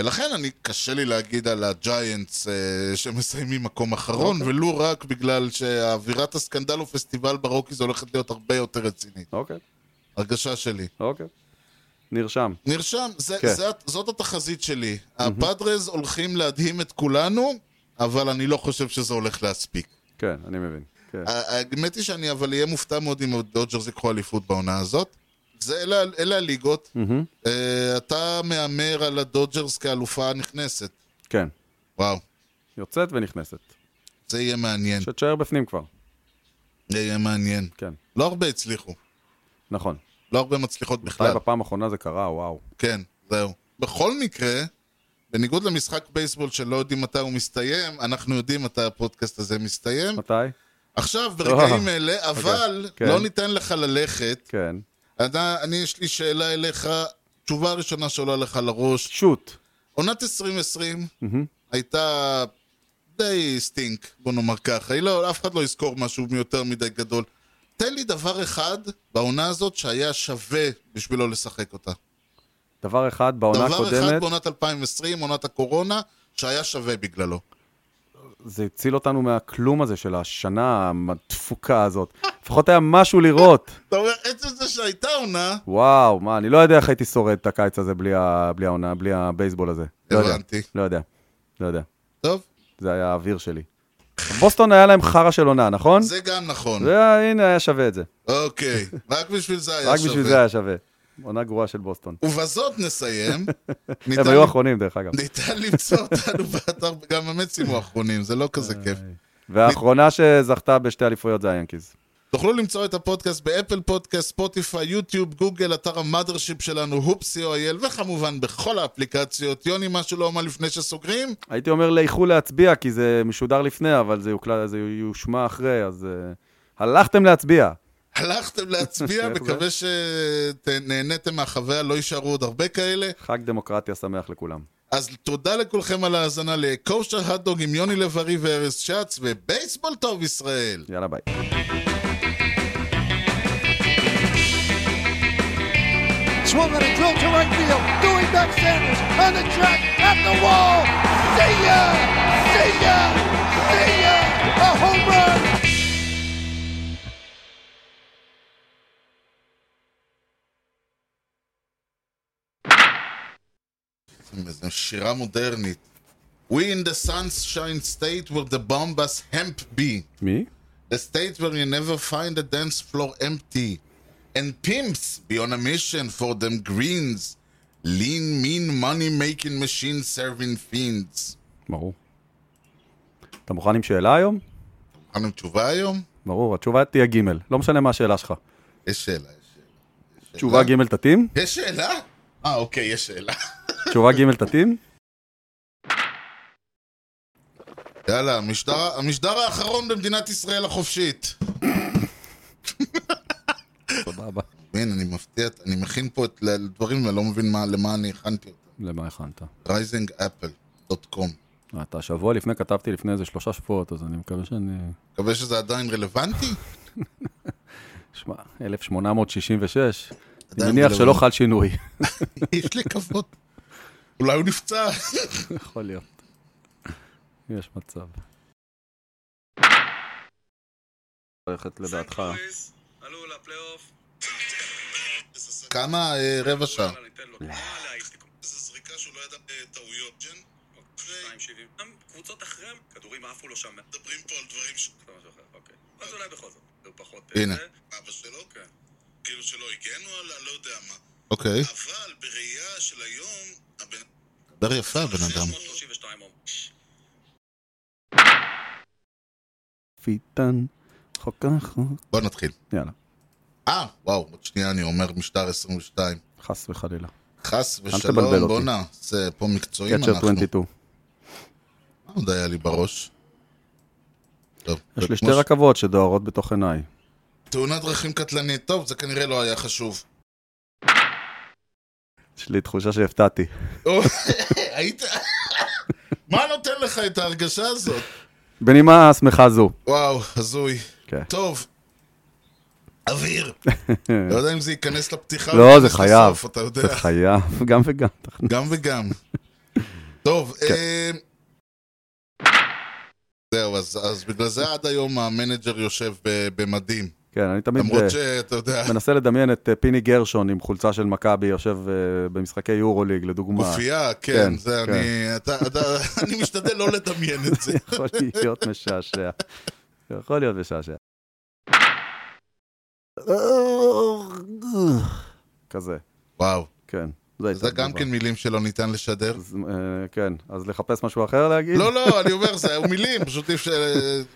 [SPEAKER 1] ולכן אני, קשה לי להגיד על הג'יינטס אה, שמסיימים מקום אחרון,
[SPEAKER 2] אוקיי.
[SPEAKER 1] ולו רק בגלל שאווירת הסקנדל או פסטיבל ברוקיז הולכת להיות הרבה יותר רצינית.
[SPEAKER 2] אוקיי,
[SPEAKER 1] הרגשה שלי.
[SPEAKER 2] אוקיי. נרשם.
[SPEAKER 1] נרשם, זה,
[SPEAKER 2] כן.
[SPEAKER 1] זה, זאת התחזית שלי. הפאדרז הולכים להדהים את כולנו, אבל אני לא חושב שזה הולך להספיק.
[SPEAKER 2] כן, אני מבין. כן.
[SPEAKER 1] אה. האמת היא שאני אבל אהיה מופתע מאוד אם הדודג'רס יקחו אליפות בעונה הזאת. זה אלה, אלה הליגות. Uh, אתה מהמר על הדודג'רס כאלופה הנכנסת.
[SPEAKER 2] כן.
[SPEAKER 1] וואו,
[SPEAKER 2] יוצאת ונכנסת.
[SPEAKER 1] זה יהיה מעניין.
[SPEAKER 2] שתשאר בפנים כבר.
[SPEAKER 1] זה יהיה מעניין.
[SPEAKER 2] כן.
[SPEAKER 1] לא הרבה הצליחו.
[SPEAKER 2] נכון.
[SPEAKER 1] לא הרבה מצליחות
[SPEAKER 2] אולי
[SPEAKER 1] בכלל.
[SPEAKER 2] בפעם האחרונה זה קרה, וואו.
[SPEAKER 1] כן, זהו. בכל מקרה, בניגוד למשחק בייסבול שלא יודעים מתי הוא מסתיים, אנחנו יודעים מתי הפודקאסט הזה מסתיים.
[SPEAKER 2] מתי?
[SPEAKER 1] עכשיו, ברגעים אלה, אבל
[SPEAKER 2] כן.
[SPEAKER 1] לא ניתן לך ללכת.
[SPEAKER 2] כן.
[SPEAKER 1] אתה- אני, יש לי שאלה אליך, תשובה ראשונה שעולה לך לראש.
[SPEAKER 2] שוט.
[SPEAKER 1] עונת 2020 הייתה די סטינק, בוא נאמר ככה. היא לא, אף אחד לא יזכור משהו יותר מדי גדול. תן לי דבר אחד בעונה הזאת שהיה שווה בשבילו לשחק אותה.
[SPEAKER 2] דבר אחד בעונה
[SPEAKER 1] דבר אחד
[SPEAKER 2] הקודמת,
[SPEAKER 1] בעונת 2020, עונת הקורונה, שהיה שווה בגללו.
[SPEAKER 2] זה הציל אותנו מהכלום הזה של השנה התפוקה הזאת. לפחות היה משהו לראות.
[SPEAKER 1] אתה אומר, עצם זה שהייתה עונה,
[SPEAKER 2] וואו, מה, אני לא יודע איך הייתי שורד את הקיץ הזה בלי ה- בלי העונה, בלי הבייסבול הזה. לא יודע,
[SPEAKER 1] הבנתי.
[SPEAKER 2] לא יודע, לא יודע.
[SPEAKER 1] טוב,
[SPEAKER 2] זה היה האוויר שלי. בוסטון היה להם חרא של עונה, נכון?
[SPEAKER 1] זה גם נכון.
[SPEAKER 2] זה, הנה, היה שווה את זה.
[SPEAKER 1] אוקיי, רק בשביל זה היה שווה.
[SPEAKER 2] רק בשביל זה היה שווה. עונה גרועה של בוסטון.
[SPEAKER 1] ובזאת נסיים. ניתן-
[SPEAKER 2] הם היו אחרונים, דרך אגב.
[SPEAKER 1] ניתן למצוא אותנו באתר, גם באמת סיימו האחרונים, זה לא כזה כיף.
[SPEAKER 2] והאחרונה שזכתה בשתי אליפויות זה היאנקיז.
[SPEAKER 1] תוכלו למצוא את הפודקאסט באפל פודקאסט, ספוטיפיי, יוטיוב, גוגל, אתר המאדרשיפ שלנו, הופסי.או.אל, וכמובן בכל האפליקציות. יוני, משהו לא אמר לפני שסוגרים?
[SPEAKER 2] הייתי אומר לכו להצביע, כי זה משודר לפני, אבל זה, יוקלט, זה יושמע אחרי, אז uh, הלכתם להצביע.
[SPEAKER 1] הלכתם להצביע,
[SPEAKER 2] איך זה?
[SPEAKER 1] מקווה שנהניתם מהחוויה, לא יישארו עוד הרבה כאלה.
[SPEAKER 2] חג דמוקרטיה שמח לכולם.
[SPEAKER 1] אז תודה לכולכם על ההאזנה לכושר הדוג עם יוני לב-ארי וארז שץ, ובייסבול טוב ישראל!
[SPEAKER 2] יאללה, ביי.
[SPEAKER 6] Swung on a drill to right field. Doing back Sanders on the track at the wall. See ya! See ya! See ya! A home run!
[SPEAKER 1] איזו שירה מודרנית. We in the sunshine state where the bombas hemp be.
[SPEAKER 2] מי?
[SPEAKER 1] A state where you never find a dance floor empty. And pimps be on a mission for them greens. Lean, mean, money-making machine serving fiends.
[SPEAKER 2] ברור. אתה מוכן עם שאלה היום?
[SPEAKER 1] מוכן עם תשובה היום?
[SPEAKER 2] ברור, התשובה תהיה ג', לא משנה מה השאלה שלך.
[SPEAKER 1] יש שאלה, יש שאלה.
[SPEAKER 2] תשובה ג' תתאים?
[SPEAKER 1] יש שאלה? אה, אוקיי, יש שאלה.
[SPEAKER 2] תשובה ג' תתאים?
[SPEAKER 1] יאללה, המשדר, המשדר האחרון במדינת ישראל החופשית.
[SPEAKER 2] סבבה.
[SPEAKER 1] מבין, אני מפתיע, אני מכין פה את הדברים, ואני לא מבין מה, למה אני הכנתי אותם.
[SPEAKER 2] למה הכנת?
[SPEAKER 1] risingapple.com
[SPEAKER 2] אה, אתה שבוע לפני, כתבתי לפני איזה שלושה שבועות, אז אני מקווה שאני...
[SPEAKER 1] מקווה שזה עדיין רלוונטי?
[SPEAKER 2] שמע, 1866, אני
[SPEAKER 1] עדיין
[SPEAKER 2] מניח
[SPEAKER 1] בלבן.
[SPEAKER 2] שלא חל שינוי.
[SPEAKER 1] יש לי כבוד. אולי הוא נפצע.
[SPEAKER 2] יכול להיות. יש מצב. הולכת לדעתך.
[SPEAKER 7] עלו לפלייאוף.
[SPEAKER 1] כמה? אה, רבע שעה.
[SPEAKER 7] וואלה, ניתן
[SPEAKER 2] לא.
[SPEAKER 7] לו. אה, וואלה, הייתי כל-
[SPEAKER 1] איזה זריקה שהוא לא ידע טעויות.
[SPEAKER 7] אוקיי.
[SPEAKER 1] אוקיי.
[SPEAKER 7] שתיים שבעים. גם קבוצות אחרי, כדורים עפו לו שם.
[SPEAKER 1] מדברים פה על דברים ש...
[SPEAKER 7] זה משהו אחר, אוקיי. אז אולי בכל זאת. זה פחות... אה,
[SPEAKER 1] הנה.
[SPEAKER 7] זה.
[SPEAKER 1] אבא שלו?
[SPEAKER 7] כן.
[SPEAKER 1] כאילו שלא הגנו עליו, לא יודע מה. אוקיי. אבל בראייה של היום... דבר יפה, הבן אדם.
[SPEAKER 7] 632 הום.
[SPEAKER 2] פיתן, חוק החוק.
[SPEAKER 1] בוא נתחיל.
[SPEAKER 2] יאללה,
[SPEAKER 1] אה, וואו, עוד שנייה אני אומר משטר 22.
[SPEAKER 2] חס וחלילה.
[SPEAKER 1] חס
[SPEAKER 2] תבלבל
[SPEAKER 1] ושלום,
[SPEAKER 2] אותי.
[SPEAKER 1] בואנה, זה פה מקצועיים
[SPEAKER 2] קצ'ר
[SPEAKER 1] אנחנו.
[SPEAKER 2] 22.
[SPEAKER 1] מה עוד היה לי בראש? טוב,
[SPEAKER 2] יש לי
[SPEAKER 1] וכמו
[SPEAKER 2] שתי
[SPEAKER 1] ש-
[SPEAKER 2] רכבות שדוהרות בתוך עיניי.
[SPEAKER 1] תאונת דרכים קטלנית, טוב, זה כנראה לא היה חשוב.
[SPEAKER 2] יש לי תחושה שהפתעתי.
[SPEAKER 1] או, היית... מה נותן לך את ההרגשה הזאת?
[SPEAKER 2] בנימה שמחה זו.
[SPEAKER 1] וואו, הזוי.
[SPEAKER 2] כן.
[SPEAKER 1] טוב. אוויר. לא יודע אם זה ייכנס לפתיחה.
[SPEAKER 2] לא,
[SPEAKER 1] או
[SPEAKER 2] זה
[SPEAKER 1] ייכנס
[SPEAKER 2] חייב.
[SPEAKER 1] לסוף, אתה יודע.
[SPEAKER 2] זה חייב, גם וגם. תכנ-
[SPEAKER 1] גם וגם. טוב,
[SPEAKER 2] כן.
[SPEAKER 1] אה, זהו, אז אז בגלל זה עד היום המנג'ר יושב ב- במדים.
[SPEAKER 2] כן, אני תמיד
[SPEAKER 1] למרות
[SPEAKER 2] אה,
[SPEAKER 1] שאתה יודע,
[SPEAKER 2] מנסה לדמיין את אה, פיני גרשון עם חולצה של מכבי, יושב אה, במשחקי יורוליג, לדוגמה.
[SPEAKER 1] גופייה, כן,
[SPEAKER 2] כן,
[SPEAKER 1] זה
[SPEAKER 2] כן.
[SPEAKER 1] אני... אתה- אתה- אני משתדל לא לדמיין את זה.
[SPEAKER 2] זה יכול להיות משעשע. זה יכול להיות משעשע. כזה,
[SPEAKER 1] וואו.
[SPEAKER 2] כן. זה הייתה
[SPEAKER 1] זה גם
[SPEAKER 2] תגובה.
[SPEAKER 1] כן מילים שלא ניתן לשדר.
[SPEAKER 2] אז, אה, כן, אז לחפש משהו אחר להגיד?
[SPEAKER 1] לא, לא, אני אומר, זה היו מילים, פשוט אי אפשר-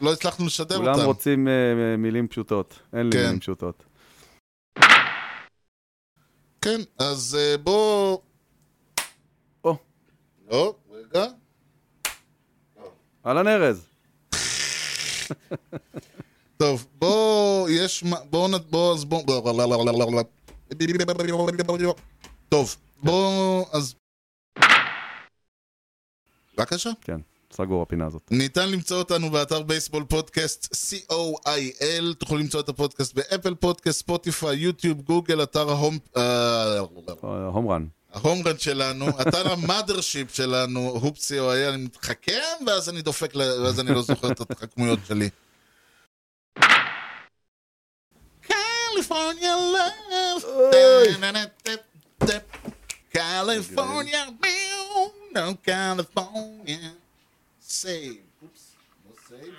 [SPEAKER 1] לא הצלחנו לשדר
[SPEAKER 2] כולם
[SPEAKER 1] אותם.
[SPEAKER 2] רוצים אה, מילים פשוטות. אין לי
[SPEAKER 1] כן.
[SPEAKER 2] מילים פשוטות.
[SPEAKER 1] כן, אז אה, בוא...
[SPEAKER 2] או,
[SPEAKER 1] לא, רגע.
[SPEAKER 2] אהלן ארז.
[SPEAKER 1] טוב, בוא, יש... מה- בוא נ... בוא, אז בוא... טוב, בוא... אז... בבקשה.
[SPEAKER 2] כן, סגור הפינה הזאת.
[SPEAKER 1] ניתן למצוא אותנו באתר בייסבול פודקאסט co.il, תוכלו למצוא את הפודקאסט באפל פודקאסט, ספוטיפיי, יוטיוב, גוגל, אתר ההום... אה,
[SPEAKER 2] אה, הום רן.
[SPEAKER 1] ההומרן שלנו, אתר המאדרשיפ שלנו, הופסי או היה, אני מתחכם, ואז אני דופק, ל- ואז אני לא זוכר את התחכמויות שלי. קליפורניה לב, קליפורניה ביום, קליפורניה סייב. אופס, לא סייב.